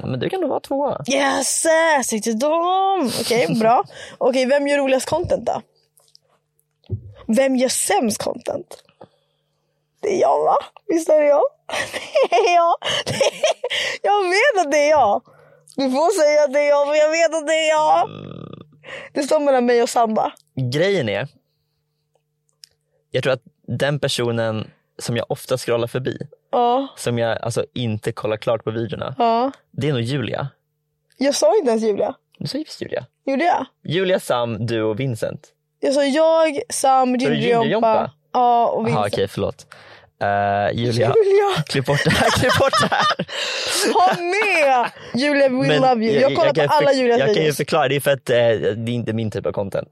Speaker 2: Men du kan nog vara tvåa.
Speaker 3: Yes! Säg till dem! Okej, bra. Okej, vem gör roligast content då? Vem gör sämst content? Det är jag va? Visst är det jag? Det är jag! Det är... Jag vet att det är jag! Du får säga att det är jag, men jag vet att det är jag! Det står mellan mig och Samba.
Speaker 2: Grejen är, jag tror att den personen som jag ofta scrollar förbi,
Speaker 3: Ja,
Speaker 2: som jag alltså inte kollar klart på videorna,
Speaker 3: ja.
Speaker 2: det är nog Julia.
Speaker 3: Jag sa inte ens Julia.
Speaker 2: Du sa ju visst Julia.
Speaker 3: Gjorde jag?
Speaker 2: Julia, Sam, du och Vincent.
Speaker 3: Jag sa Alltså, jag, Sam,
Speaker 2: du
Speaker 3: Gingerjompa.
Speaker 2: Gingerjompa?
Speaker 3: Ja, och
Speaker 2: Jaha
Speaker 3: Vincent.
Speaker 2: okej, förlåt. Eh, Julia,
Speaker 3: Julia,
Speaker 2: klipp bort det här, klipp bort det här.
Speaker 3: ha med! Julia, we love you. Jag, kollar
Speaker 2: kan
Speaker 3: på alla
Speaker 2: för-
Speaker 3: Julias
Speaker 2: Jag kan ju
Speaker 3: videos.
Speaker 2: förklara, det är för att eh, det är inte min typ av content.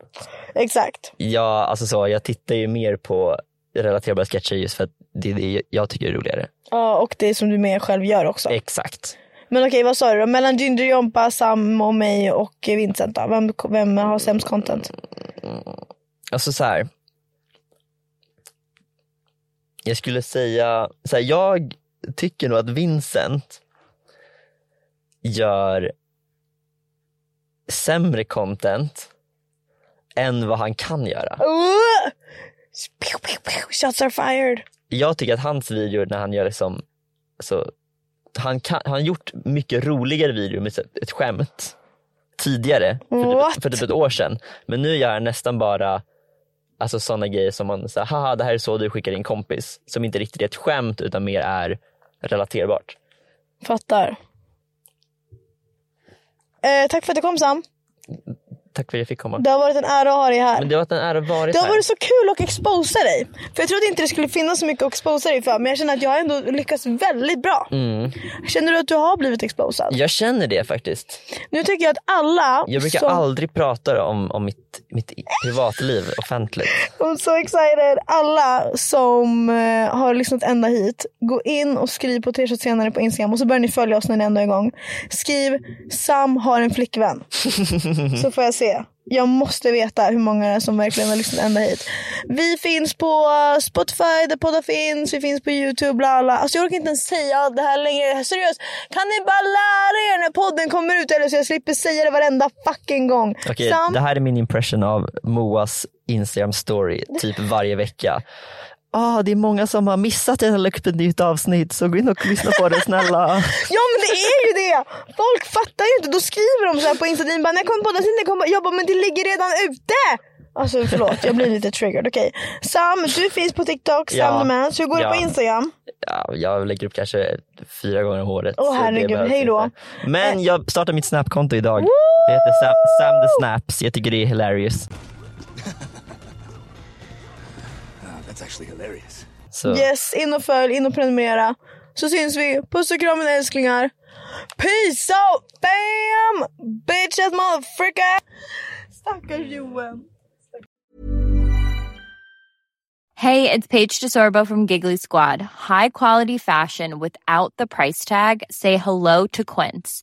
Speaker 3: Exakt.
Speaker 2: Jag, alltså så, jag tittar ju mer på relaterbara sketcher just för att det är det jag tycker är roligare.
Speaker 3: Ja, och det som du med själv gör också.
Speaker 2: Exakt.
Speaker 3: Men okej, vad sa du då? Mellan Ginger Jompa, Sam och mig och Vincent då? Vem, vem har sämst content?
Speaker 2: Alltså så här. Jag skulle säga, så här, jag tycker nog att Vincent gör sämre content än vad han kan göra.
Speaker 3: Uh! Pew, pew, pew. Shots are fired.
Speaker 2: jag tycker att hans videor när han gör liksom, alltså, han kan, han har gjort mycket roligare videor med typ ett, ett skämt tidigare, för
Speaker 3: What?
Speaker 2: typ, för typ ett år sedan. Men nu gör han nästan bara alltså, sådana grejer som man säger, haha det här är så du skickar din kompis. Som inte riktigt är ett skämt utan mer är relaterbart.
Speaker 3: Fattar. Eh, tack för att du kom Sam.
Speaker 2: Tack för att jag fick komma.
Speaker 3: Det har varit en ära att ha dig här.
Speaker 2: Men det har varit en ära att vara
Speaker 3: Det har
Speaker 2: här.
Speaker 3: varit så kul att exposa dig. För jag trodde inte det skulle finnas så mycket att exposa dig för. Men jag känner att jag har ändå lyckats väldigt bra.
Speaker 2: Mm.
Speaker 3: Känner du att du har blivit exposad?
Speaker 2: Jag känner det faktiskt.
Speaker 3: Nu tycker jag att alla
Speaker 2: Jag brukar
Speaker 3: som...
Speaker 2: aldrig prata om, om mitt, mitt privatliv offentligt.
Speaker 3: I'm so excited. Alla som eh, har lyssnat ända hit, gå in och skriv på t-shirt senare på Instagram och så börjar ni följa oss när ni ändå är igång. Skriv Sam har en flickvän. så får jag se. Jag måste veta hur många det är som verkligen har lyssnat ända hit. Vi finns på eh, Spotify där poddar finns, vi finns på YouTube, bla bla. Alltså jag orkar inte ens säga allt det här längre. Seriöst, kan ni bara lära er när podden kommer ut eller så jag slipper säga det varenda fucking gång.
Speaker 2: Okej,
Speaker 3: Sam,
Speaker 2: det här är min impression av Moas Instagram story typ varje vecka. Ah, det är många som har missat att jag la upp ett nytt avsnitt så gå in och lyssna på det snälla.
Speaker 3: Ja men det är ju det! Folk fattar ju inte. Då skriver de så här på Instagram. Bara, när kommer podden? Sen när kommer podden?" Jag bara, men det ligger redan ute! Alltså förlåt, jag blir lite triggered. Okej. Sam, du finns på TikTok. Sam
Speaker 2: Ja.
Speaker 3: the Mans. Hur går
Speaker 2: Ja.
Speaker 3: det på Instagram?
Speaker 2: Ja, jag lägger upp kanske fyra gånger om året.
Speaker 3: Åh,
Speaker 2: så det
Speaker 3: herregud,
Speaker 2: behövs
Speaker 3: hej då.
Speaker 2: inte. Men jag startar mitt Snap-konto idag. Det heter Sam, Sam the Snaps. Jag tycker det är hilarious.
Speaker 7: Ah, that's actually hilarious.
Speaker 2: Så,
Speaker 3: Yes, in och följ, in och prenumerera. Så syns vi. Puss och kram mina älsklingar. Peace out bam! Bitches motherfucker! Stackars Johan.
Speaker 8: Hey, it's Paige DeSorbo from Giggly Squad. High quality fashion without the price tag. Say hello to Quince.